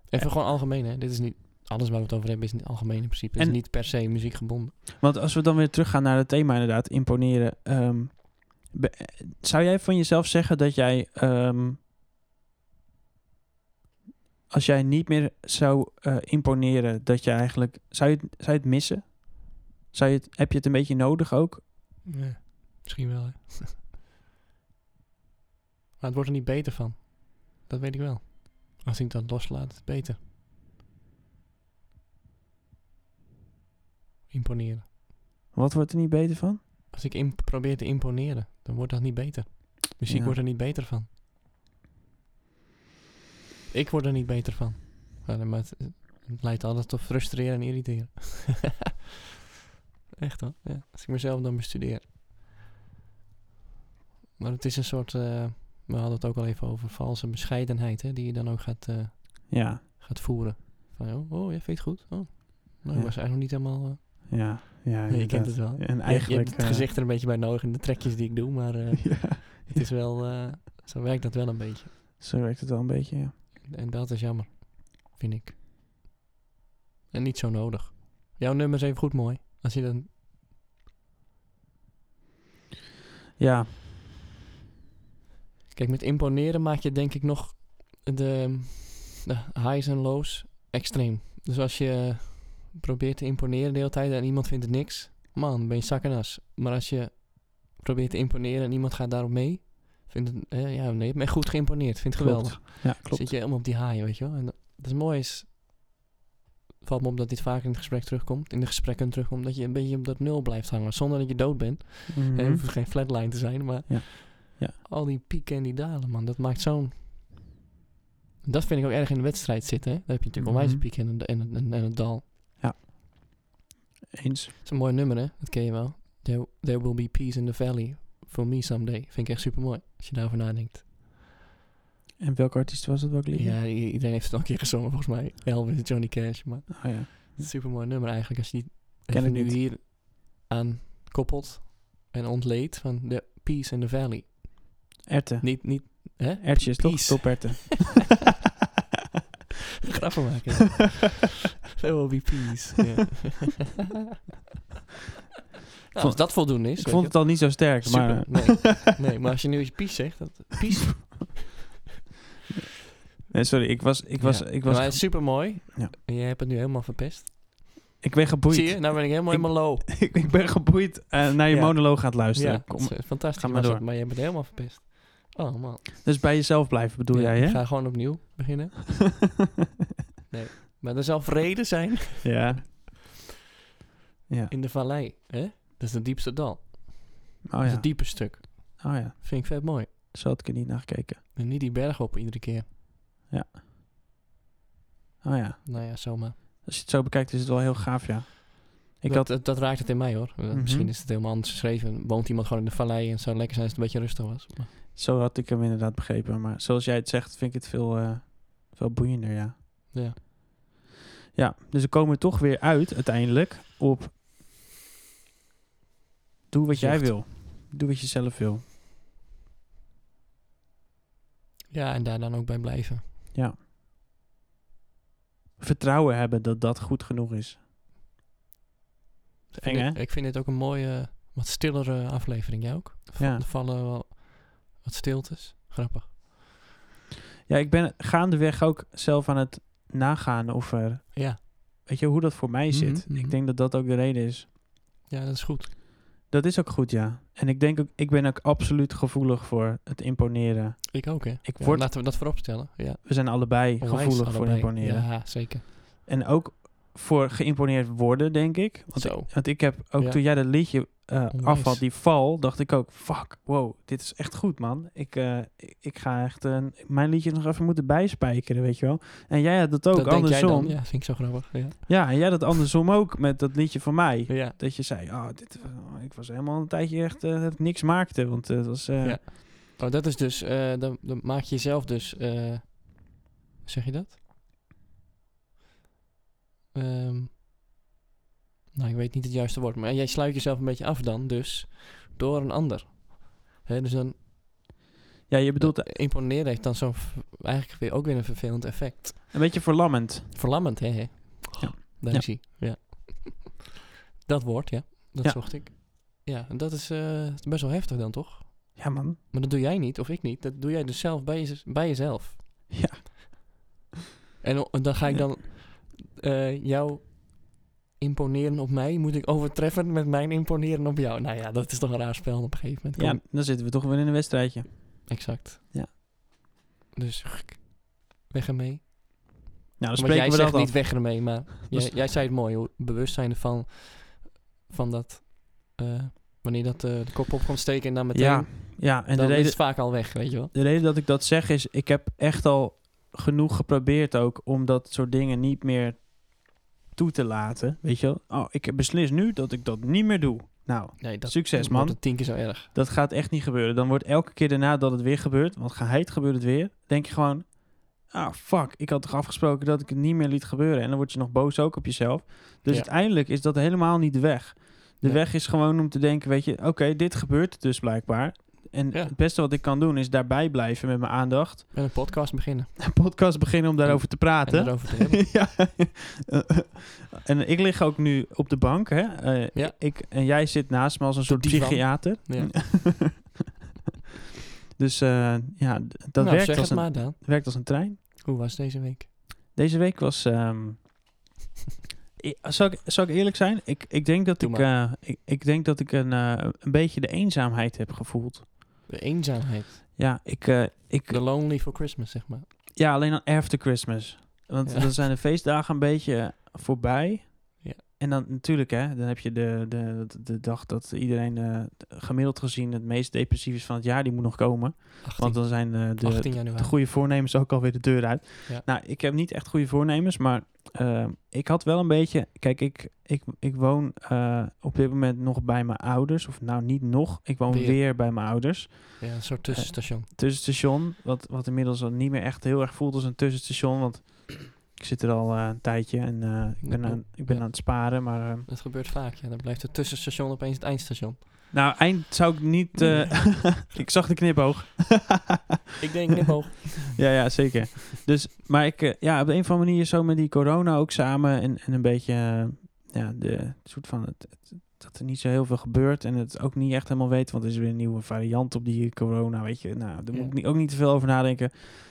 Speaker 2: Even gewoon algemeen, hè. Dit is niet... Alles waar we het over hebben is niet algemeen in principe. Het
Speaker 1: En-
Speaker 2: is niet per se muziek gebonden.
Speaker 1: Want als we dan weer teruggaan naar het thema inderdaad, imponeren. ehm, be- eh, zou jij van jezelf zeggen dat jij... ehm, als jij niet meer zou eh, imponeren, dat je eigenlijk... Zou je, het- zou je het missen? Zou je het, heb je het een beetje nodig ook?
Speaker 2: Ja, misschien wel, hè. maar het wordt er niet beter van. Dat weet ik wel. Als ik dat loslaat, is het beter. Imponeren.
Speaker 1: Wat wordt er niet beter van?
Speaker 2: Als ik imp- probeer te imponeren, dan wordt dat niet beter. Muziek
Speaker 1: Ja.
Speaker 2: wordt er niet beter van. Ik word er niet beter van. Ja, maar het, het leidt altijd tot frustreren en irriteren. Echt hoor. Ja, als ik mezelf dan bestudeer. Maar het is een soort... eh, we hadden het ook al even over valse bescheidenheid. Hè, die je dan ook gaat, eh,
Speaker 1: Ja,
Speaker 2: gaat voeren. Van, oh, oh, jij vindt het goed. Oh. Nou,
Speaker 1: Ja.
Speaker 2: ik was eigenlijk nog niet helemaal... eh,
Speaker 1: ja, ja.
Speaker 2: nee, je kent
Speaker 1: inderdaad.
Speaker 2: het wel.
Speaker 1: En
Speaker 2: Ja, Je,
Speaker 1: eigenlijk...
Speaker 2: hebt het
Speaker 1: eh,
Speaker 2: gezicht er een beetje bij nodig en de trekjes die ik doe, maar eh,
Speaker 1: ja,
Speaker 2: het is wel, eh, zo werkt dat wel een beetje.
Speaker 1: zo werkt het wel een beetje, ja.
Speaker 2: En dat is jammer, vind ik. En niet zo nodig. Jouw nummer is even goed mooi. Als je dan,
Speaker 1: Ja,
Speaker 2: kijk, met imponeren maak je denk ik nog de, de highs en lows extreem. Dus als je probeert te imponeren de hele tijd en iemand vindt het niks, man, ben je zak en as. Maar als je probeert te imponeren en iemand gaat daarop mee, vindt het, eh, ja, nee, je hebt me goed geïmponeerd, vindt het
Speaker 1: klopt.
Speaker 2: geweldig.
Speaker 1: Ja, klopt.
Speaker 2: Zit je helemaal op die haai, weet je wel. En dat dat is mooi is... Valt me op dat dit vaker in het gesprek terugkomt. In de gesprekken terugkomt. Dat je een beetje op dat nul blijft hangen. Zonder dat je dood bent.
Speaker 1: Mhm.
Speaker 2: En het hoeft geen flatline te zijn. Maar
Speaker 1: Ja. Ja.
Speaker 2: al die pieken en die dalen, man. Dat maakt zo'n... Dat vind ik ook erg in de wedstrijd zitten. Hè? Dan heb je natuurlijk onwijs
Speaker 1: Mhm.
Speaker 2: piek en een, en, een- en, en een dal.
Speaker 1: Eens.
Speaker 2: Dat is een mooi nummer, hè? Dat ken je wel. There, there will be peace in the valley. For me someday. Vind ik echt super mooi. Als je daarover nadenkt.
Speaker 1: En welke artiest was het, welk liedje?
Speaker 2: Ja, i- iedereen heeft het al een keer gezongen volgens mij. Elvis, Johnny Cash. Maar
Speaker 1: Oh, ja.
Speaker 2: Super mooi nummer eigenlijk. Als je die
Speaker 1: Ken
Speaker 2: even
Speaker 1: het
Speaker 2: nu
Speaker 1: niet.
Speaker 2: hier aan koppelt en ontleedt van de Peace in the Valley.
Speaker 1: Erwten.
Speaker 2: Niet, niet, hè?
Speaker 1: Ertjes, toch?
Speaker 2: Peace.
Speaker 1: Toperten.
Speaker 2: Grappen maken. There will be peace. Ja. nou, als
Speaker 1: vond-
Speaker 2: dat voldoende is.
Speaker 1: Ik
Speaker 2: weet
Speaker 1: vond
Speaker 2: je
Speaker 1: het al niet zo sterk,
Speaker 2: Super,
Speaker 1: maar...
Speaker 2: Nee, nee, maar als je nu eens peace zegt, dat, peace.
Speaker 1: Nee, sorry, ik was... Ik, was, ik, was,
Speaker 2: maar het is super mooi.
Speaker 1: Ja.
Speaker 2: En jij hebt het nu helemaal verpest.
Speaker 1: ik ben geboeid.
Speaker 2: Zie je? Nou ben ik helemaal
Speaker 1: Ik-
Speaker 2: helemaal low.
Speaker 1: ik, ik ben geboeid eh, naar je
Speaker 2: Ja.
Speaker 1: monoloog aan het luisteren.
Speaker 2: Ja,
Speaker 1: Kom.
Speaker 2: dat is fantastisch.
Speaker 1: Ga maar
Speaker 2: was
Speaker 1: door.
Speaker 2: het, maar jij bent helemaal verpest. Oh man.
Speaker 1: Dus bij jezelf blijven bedoel
Speaker 2: Ja,
Speaker 1: jij,
Speaker 2: Ik
Speaker 1: hè?
Speaker 2: ga gewoon opnieuw beginnen. Maar er zal vrede zijn
Speaker 1: ja. Ja.
Speaker 2: in de vallei. Hè? Dat is het diepste dal. dat
Speaker 1: Oh
Speaker 2: is
Speaker 1: ja.
Speaker 2: het diepe stuk.
Speaker 1: Oh ja.
Speaker 2: Vind ik vet mooi.
Speaker 1: Zo had ik er niet naar gekeken.
Speaker 2: En niet die berg op iedere keer.
Speaker 1: Oh ja.
Speaker 2: Nou ja, zomaar.
Speaker 1: Als je het zo bekijkt is het wel heel gaaf, ja. Ik
Speaker 2: dat,
Speaker 1: had...
Speaker 2: dat, dat raakt het in mij hoor. Eh,
Speaker 1: Mhm.
Speaker 2: Misschien is het helemaal anders geschreven. Woont iemand gewoon in de vallei en zou lekker zijn als het een beetje rustig was. Maar
Speaker 1: Zo had ik hem inderdaad begrepen. Maar zoals jij het zegt, vind ik het veel, eh, veel boeiender, ja.
Speaker 2: ja.
Speaker 1: Ja, dus we komen toch weer uit uiteindelijk op... Doe wat jij
Speaker 2: Zucht.
Speaker 1: wil. Doe wat je zelf wil.
Speaker 2: ja, en daar dan ook bij blijven.
Speaker 1: Vertrouwen hebben dat dat goed genoeg is. Eng,
Speaker 2: Vind
Speaker 1: hè?
Speaker 2: ik, ik vind dit ook een mooie, wat stillere aflevering. Jij ook? Er va-
Speaker 1: Ja.
Speaker 2: Er vallen wel wat stiltes. Grappig.
Speaker 1: Ja, ik ben gaandeweg ook zelf aan het nagaan of er,
Speaker 2: Ja.
Speaker 1: weet je, hoe dat voor mij
Speaker 2: Mhm,
Speaker 1: zit.
Speaker 2: mhm.
Speaker 1: Ik denk dat dat ook de reden is.
Speaker 2: ja, dat is goed.
Speaker 1: Dat is ook goed, ja. En ik denk ook, ik ben ook absoluut gevoelig voor het imponeren.
Speaker 2: Ik ook, hè?
Speaker 1: Ik
Speaker 2: Ja,
Speaker 1: word-
Speaker 2: Laten we dat vooropstellen. Ja.
Speaker 1: We zijn allebei
Speaker 2: Onwijs
Speaker 1: gevoelig voor
Speaker 2: allebei.
Speaker 1: imponeren.
Speaker 2: Ja, zeker.
Speaker 1: En ook voor geïmponeerd worden, denk ik. Want,
Speaker 2: Zo.
Speaker 1: want ik heb ook
Speaker 2: Ja.
Speaker 1: toen jij dat liedje eh
Speaker 2: Onwijs.
Speaker 1: afvalt, die val, dacht ik ook, fuck, wow, dit is echt goed, man. Ik, eh, ik- ik ga echt een- mijn liedje nog even moeten bijspijkeren, weet je wel. En jij had dat ook
Speaker 2: dat denk jij
Speaker 1: andersom.
Speaker 2: dan.
Speaker 1: ja.
Speaker 2: Ja, vind ik zo grappig. Ja.
Speaker 1: en jij dat andersom ook met dat liedje van mij.
Speaker 2: Ja.
Speaker 1: Dat je zei, ah, dit, oh, ik was helemaal een tijdje echt eh, dat ik niks maakte. Want eh, het was, eh,
Speaker 2: Ja. Oh, dat is dus, eh, dan, dan maak je jezelf dus, eh, zeg je dat? Ehm, nou, ik weet niet het juiste woord, maar jij sluit jezelf een beetje af dan, dus door een ander. Hè, dus dan
Speaker 1: ja, je bedoelt
Speaker 2: dat imponeren heeft dan zo'n, v- eigenlijk weer, ook weer een vervelend effect.
Speaker 1: een beetje verlammend.
Speaker 2: Verlammend, hè? hè?
Speaker 1: Ja.
Speaker 2: Daar
Speaker 1: Ja.
Speaker 2: is ie. Ja. dat woord, ja. Dat
Speaker 1: Ja.
Speaker 2: zocht ik. Ja, en dat is eh, best wel heftig dan, toch?
Speaker 1: Ja, man.
Speaker 2: Maar dat doe jij niet, of ik niet. Dat doe jij dus zelf bij, jez- bij jezelf.
Speaker 1: Ja.
Speaker 2: En o- dan ga ik dan eh, jou imponeren op mij, moet ik overtreffen met mijn imponeren op jou. Nou ja, dat is toch een raar spel op een gegeven moment.
Speaker 1: Ja,
Speaker 2: Kom,
Speaker 1: dan zitten we toch weer in een wedstrijdje.
Speaker 2: Exact.
Speaker 1: Ja.
Speaker 2: Dus gk, weg ermee.
Speaker 1: Nou, dan
Speaker 2: Want
Speaker 1: spreken
Speaker 2: jij
Speaker 1: we
Speaker 2: zegt
Speaker 1: dat af.
Speaker 2: niet weg ermee, maar
Speaker 1: Dus-
Speaker 2: jij, jij zei het mooi, hoor. bewustzijn van, van dat, eh, wanneer dat eh, de kop op komt steken en dan meteen,
Speaker 1: Ja, ja, en
Speaker 2: en
Speaker 1: de
Speaker 2: dan is
Speaker 1: reden,
Speaker 2: het vaak al weg, weet je wel.
Speaker 1: de reden dat ik dat zeg is, ik heb echt al genoeg geprobeerd ook om dat soort dingen niet meer toe te laten. Weet je wel? Oh, ik beslis nu dat ik dat niet meer doe. Nou,
Speaker 2: Nee,
Speaker 1: Succes,
Speaker 2: wordt
Speaker 1: man.
Speaker 2: het tien keer zo erg.
Speaker 1: dat gaat echt niet gebeuren. Dan wordt elke keer daarna dat het weer gebeurt, want geheid gebeurt het weer, denk je gewoon, ah fuck, ik had toch afgesproken dat ik het niet meer liet gebeuren. En dan word je nog boos ook op jezelf. Dus
Speaker 2: Ja.
Speaker 1: uiteindelijk is dat helemaal niet de weg. De
Speaker 2: Nee.
Speaker 1: weg is gewoon om te denken, weet je, oké, dit gebeurt dus blijkbaar. En
Speaker 2: Ja.
Speaker 1: het beste wat ik kan doen is daarbij blijven met mijn aandacht.
Speaker 2: Met een podcast beginnen.
Speaker 1: Een podcast beginnen om daarover te
Speaker 2: En
Speaker 1: praten.
Speaker 2: daarover te hebben.
Speaker 1: ja. en ik lig ook nu op de bank, hè. Eh,
Speaker 2: Ja.
Speaker 1: ik, en jij zit naast me als een soort
Speaker 2: divan.
Speaker 1: psychiater.
Speaker 2: Ja.
Speaker 1: dus eh, ja, d- dat
Speaker 2: nou, zeg
Speaker 1: werkt, als
Speaker 2: het
Speaker 1: een,
Speaker 2: maar dan.
Speaker 1: werkt als een trein.
Speaker 2: Hoe was deze week?
Speaker 1: Deze week was... ehm, i- zal, ik, zal ik eerlijk zijn? Ik, ik, denk, dat
Speaker 2: Doe
Speaker 1: ik, eh, ik, ik denk dat ik een, eh, een beetje de eenzaamheid heb gevoeld.
Speaker 2: De eenzaamheid.
Speaker 1: Ja, ik, eh, ik,
Speaker 2: The Lonely for Christmas, zeg maar.
Speaker 1: Ja, alleen dan after Christmas. Want
Speaker 2: Ja.
Speaker 1: dan zijn de feestdagen een beetje voorbij.
Speaker 2: Ja.
Speaker 1: En dan natuurlijk, hè, dan heb je de, de, de, de dag dat iedereen eh, gemiddeld gezien het meest depressief is van het jaar. Die moet nog komen.
Speaker 2: 18,
Speaker 1: Want dan zijn eh, de,
Speaker 2: 18 januari.
Speaker 1: de goede voornemens ook alweer de deur uit.
Speaker 2: Ja.
Speaker 1: Nou, ik heb niet echt goede voornemens, maar eh, ik had wel een beetje... Kijk, ik, ik, ik woon eh, op dit moment nog bij mijn ouders. Of nou, niet nog. Ik woon
Speaker 2: Weer.
Speaker 1: weer bij mijn ouders
Speaker 2: ja, een soort tussenstation.
Speaker 1: Eh. tussenstation. Wat, wat inmiddels al niet meer echt heel erg voelt als een tussenstation. Want ik zit er al eh, een tijdje en eh, ik ben,
Speaker 2: Ja.
Speaker 1: aan, ik ben
Speaker 2: Ja.
Speaker 1: aan het sparen. Maar eh,
Speaker 2: Dat gebeurt vaak, ja. Dan blijft het tussenstation opeens het eindstation.
Speaker 1: nou, eind zou ik niet... eh, ik zag de knipoog.
Speaker 2: Ik denk knipoog.
Speaker 1: ja, ja, zeker. Dus, maar ik, eh, ja, op de een of andere manier zo met die corona ook samen. En, en een beetje, eh, ja, de het soort van... Het, het- dat er niet zo heel veel gebeurt en het ook niet echt helemaal weet, want er is weer een nieuwe variant op die corona, weet je. Nou, daar
Speaker 2: Ja.
Speaker 1: moet ik niet- ook niet te veel over nadenken.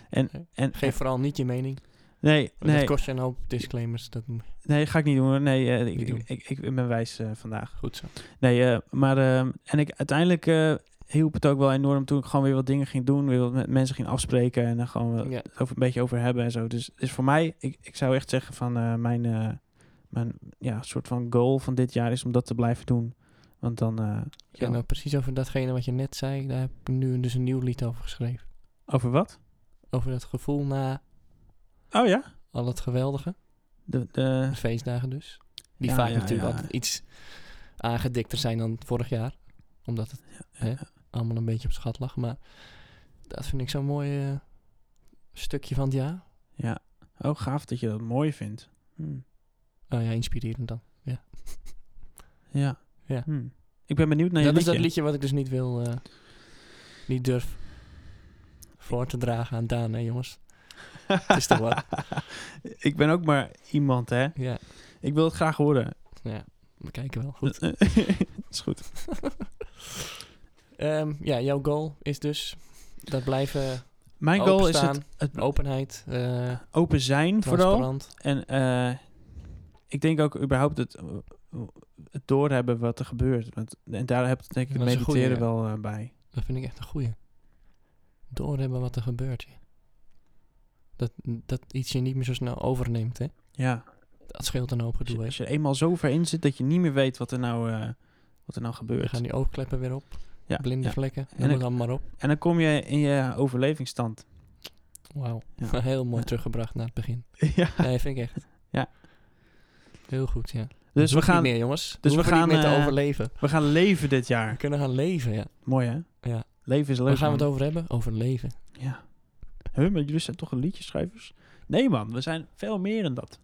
Speaker 1: En,
Speaker 2: Nee.
Speaker 1: en,
Speaker 2: Geef vooral niet je mening.
Speaker 1: nee,
Speaker 2: Nee.
Speaker 1: nee.
Speaker 2: Dat kost je een hoop disclaimers. Dat moet-
Speaker 1: Nee, ga ik niet doen. hoor. Nee, eh, ik,
Speaker 2: Niet doen.
Speaker 1: Ik, ik, ik ben wijs eh, vandaag.
Speaker 2: goed zo.
Speaker 1: Nee, eh, maar ehm, en ik uiteindelijk eh, hielp het ook wel enorm toen ik gewoon weer wat dingen ging doen, weer wat met mensen ging afspreken en dan gewoon wel
Speaker 2: Ja.
Speaker 1: over, een beetje over hebben en zo. Dus, dus voor mij, ik, ik zou echt zeggen van eh, mijn, eh, mijn ja, soort van goal van dit jaar is om dat te blijven doen. Want dan eh,
Speaker 2: Ja, nou precies over datgene wat je net zei. Daar heb ik nu dus een nieuw lied over geschreven.
Speaker 1: over wat?
Speaker 2: Over dat gevoel na
Speaker 1: Oh ja,
Speaker 2: al het geweldige.
Speaker 1: de, de,
Speaker 2: De feestdagen dus. Die
Speaker 1: Ja,
Speaker 2: vaak
Speaker 1: ja,
Speaker 2: natuurlijk
Speaker 1: ja.
Speaker 2: altijd iets aangedikter zijn dan vorig jaar. Omdat het hè, allemaal een beetje op schat lag. Maar dat vind ik zo'n mooi eh, stukje van het jaar.
Speaker 1: ja. Oh gaaf dat je dat mooi vindt. Hm.
Speaker 2: Oh ja, inspirerend dan.
Speaker 1: Ja.
Speaker 2: Ja.
Speaker 1: Hm. Ik ben benieuwd naar je
Speaker 2: dat is dat
Speaker 1: liedje.
Speaker 2: liedje wat ik dus niet wil, eh, niet durf voor te dragen aan Daan, hè jongens. Het is toch wat?
Speaker 1: ik ben ook maar iemand, hè.
Speaker 2: Ja,
Speaker 1: Ik wil het graag horen.
Speaker 2: ja. we kijken wel. Goed.
Speaker 1: Eh, is goed.
Speaker 2: Ehm, ja, jouw goal is dus dat blijven
Speaker 1: Mijn goal is het,
Speaker 2: Openstaan,
Speaker 1: het
Speaker 2: Openheid, eh
Speaker 1: open zijn vooral.
Speaker 2: transparant.
Speaker 1: En eh, ik denk ook überhaupt het, eh, het doorhebben wat er gebeurt. Want, en daar heb denk ik het
Speaker 2: Dat is een
Speaker 1: mediteren
Speaker 2: goeie, ja.
Speaker 1: wel eh, bij.
Speaker 2: Dat vind ik echt een goeie. Doorhebben wat er gebeurt. ja. Dat, dat iets je niet meer zo snel overneemt, hè.
Speaker 1: Ja,
Speaker 2: Dat scheelt een hoop
Speaker 1: als je,
Speaker 2: gedoe, hè.
Speaker 1: als je er eenmaal zo ver in zit dat je niet meer weet wat er nou, eh, wat er nou
Speaker 2: Dan
Speaker 1: gebeurt.
Speaker 2: gaan die oogkleppen weer op.
Speaker 1: ja,
Speaker 2: Blinde
Speaker 1: ja.
Speaker 2: vlekken.
Speaker 1: En
Speaker 2: Noem het
Speaker 1: ik-
Speaker 2: allemaal maar op.
Speaker 1: En dan kom je in je overlevingsstand.
Speaker 2: Wauw.
Speaker 1: Ja.
Speaker 2: Heel mooi
Speaker 1: Ja.
Speaker 2: teruggebracht naar het begin.
Speaker 1: ja.
Speaker 2: Nee, vind ik echt.
Speaker 1: Ja.
Speaker 2: Heel goed, ja.
Speaker 1: Dus we gaan,
Speaker 2: Niet meer, jongens.
Speaker 1: we
Speaker 2: Dus we, gaan
Speaker 1: gaan,
Speaker 2: niet meer te
Speaker 1: eh,
Speaker 2: overleven.
Speaker 1: we gaan leven dit
Speaker 2: We
Speaker 1: jaar.
Speaker 2: kunnen gaan leven, ja.
Speaker 1: Mooi hè?
Speaker 2: Ja.
Speaker 1: Leven is leuk.
Speaker 2: Waar gaan we het
Speaker 1: man.
Speaker 2: over hebben? Over leven.
Speaker 1: Ja. Huh, maar jullie zijn toch een liedjeschrijvers? Nee man, we zijn veel meer dan dat.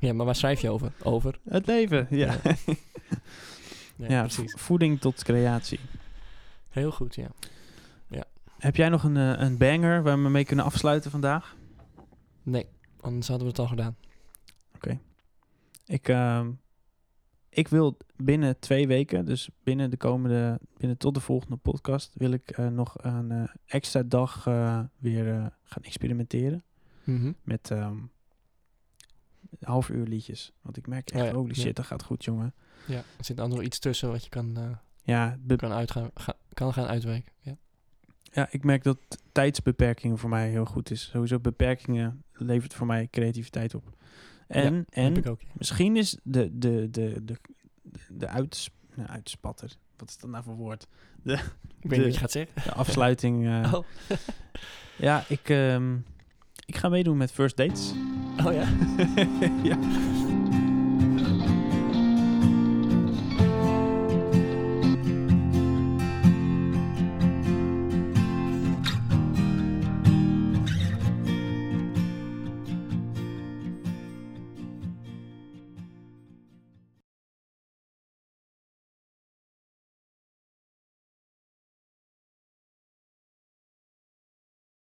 Speaker 2: Ja, maar waar schrijf je over? Over.
Speaker 1: Het leven, ja. Ja, vo- voeding tot creatie.
Speaker 2: Heel goed, ja.
Speaker 1: Heb jij nog een, eh, een banger waar we mee kunnen afsluiten vandaag?
Speaker 2: Nee, anders hadden we het al gedaan.
Speaker 1: Ik, ehm, ik wil binnen twee weken, dus binnen de komende, binnen tot de volgende podcast, wil ik eh, nog een eh, extra dag eh, weer eh, gaan experimenteren
Speaker 2: Mhm.
Speaker 1: met ehm, half uur liedjes. Want ik merk echt,
Speaker 2: Oh ja,
Speaker 1: holy
Speaker 2: ja.
Speaker 1: shit, dat gaat goed, jongen.
Speaker 2: Ja, er zit anders nog iets tussen wat je kan, eh,
Speaker 1: Ja, be-
Speaker 2: kan, uitgaan, ga- kan gaan uitwerken. Ja.
Speaker 1: Ja, ik merk dat tijdsbeperkingen voor mij heel goed is. Sowieso beperkingen levert voor mij creativiteit op. En,
Speaker 2: Heb
Speaker 1: en
Speaker 2: ik ook, ja.
Speaker 1: misschien is de, de, de, de, de uits, nou, uitspatter, wat is dat nou voor woord?
Speaker 2: Ik weet niet
Speaker 1: de-
Speaker 2: wat je gaat zeggen.
Speaker 1: De afsluiting. eh,
Speaker 2: Oh.
Speaker 1: Ja, ik, ehm, ik ga meedoen met First Dates.
Speaker 2: oh ja.
Speaker 1: ja.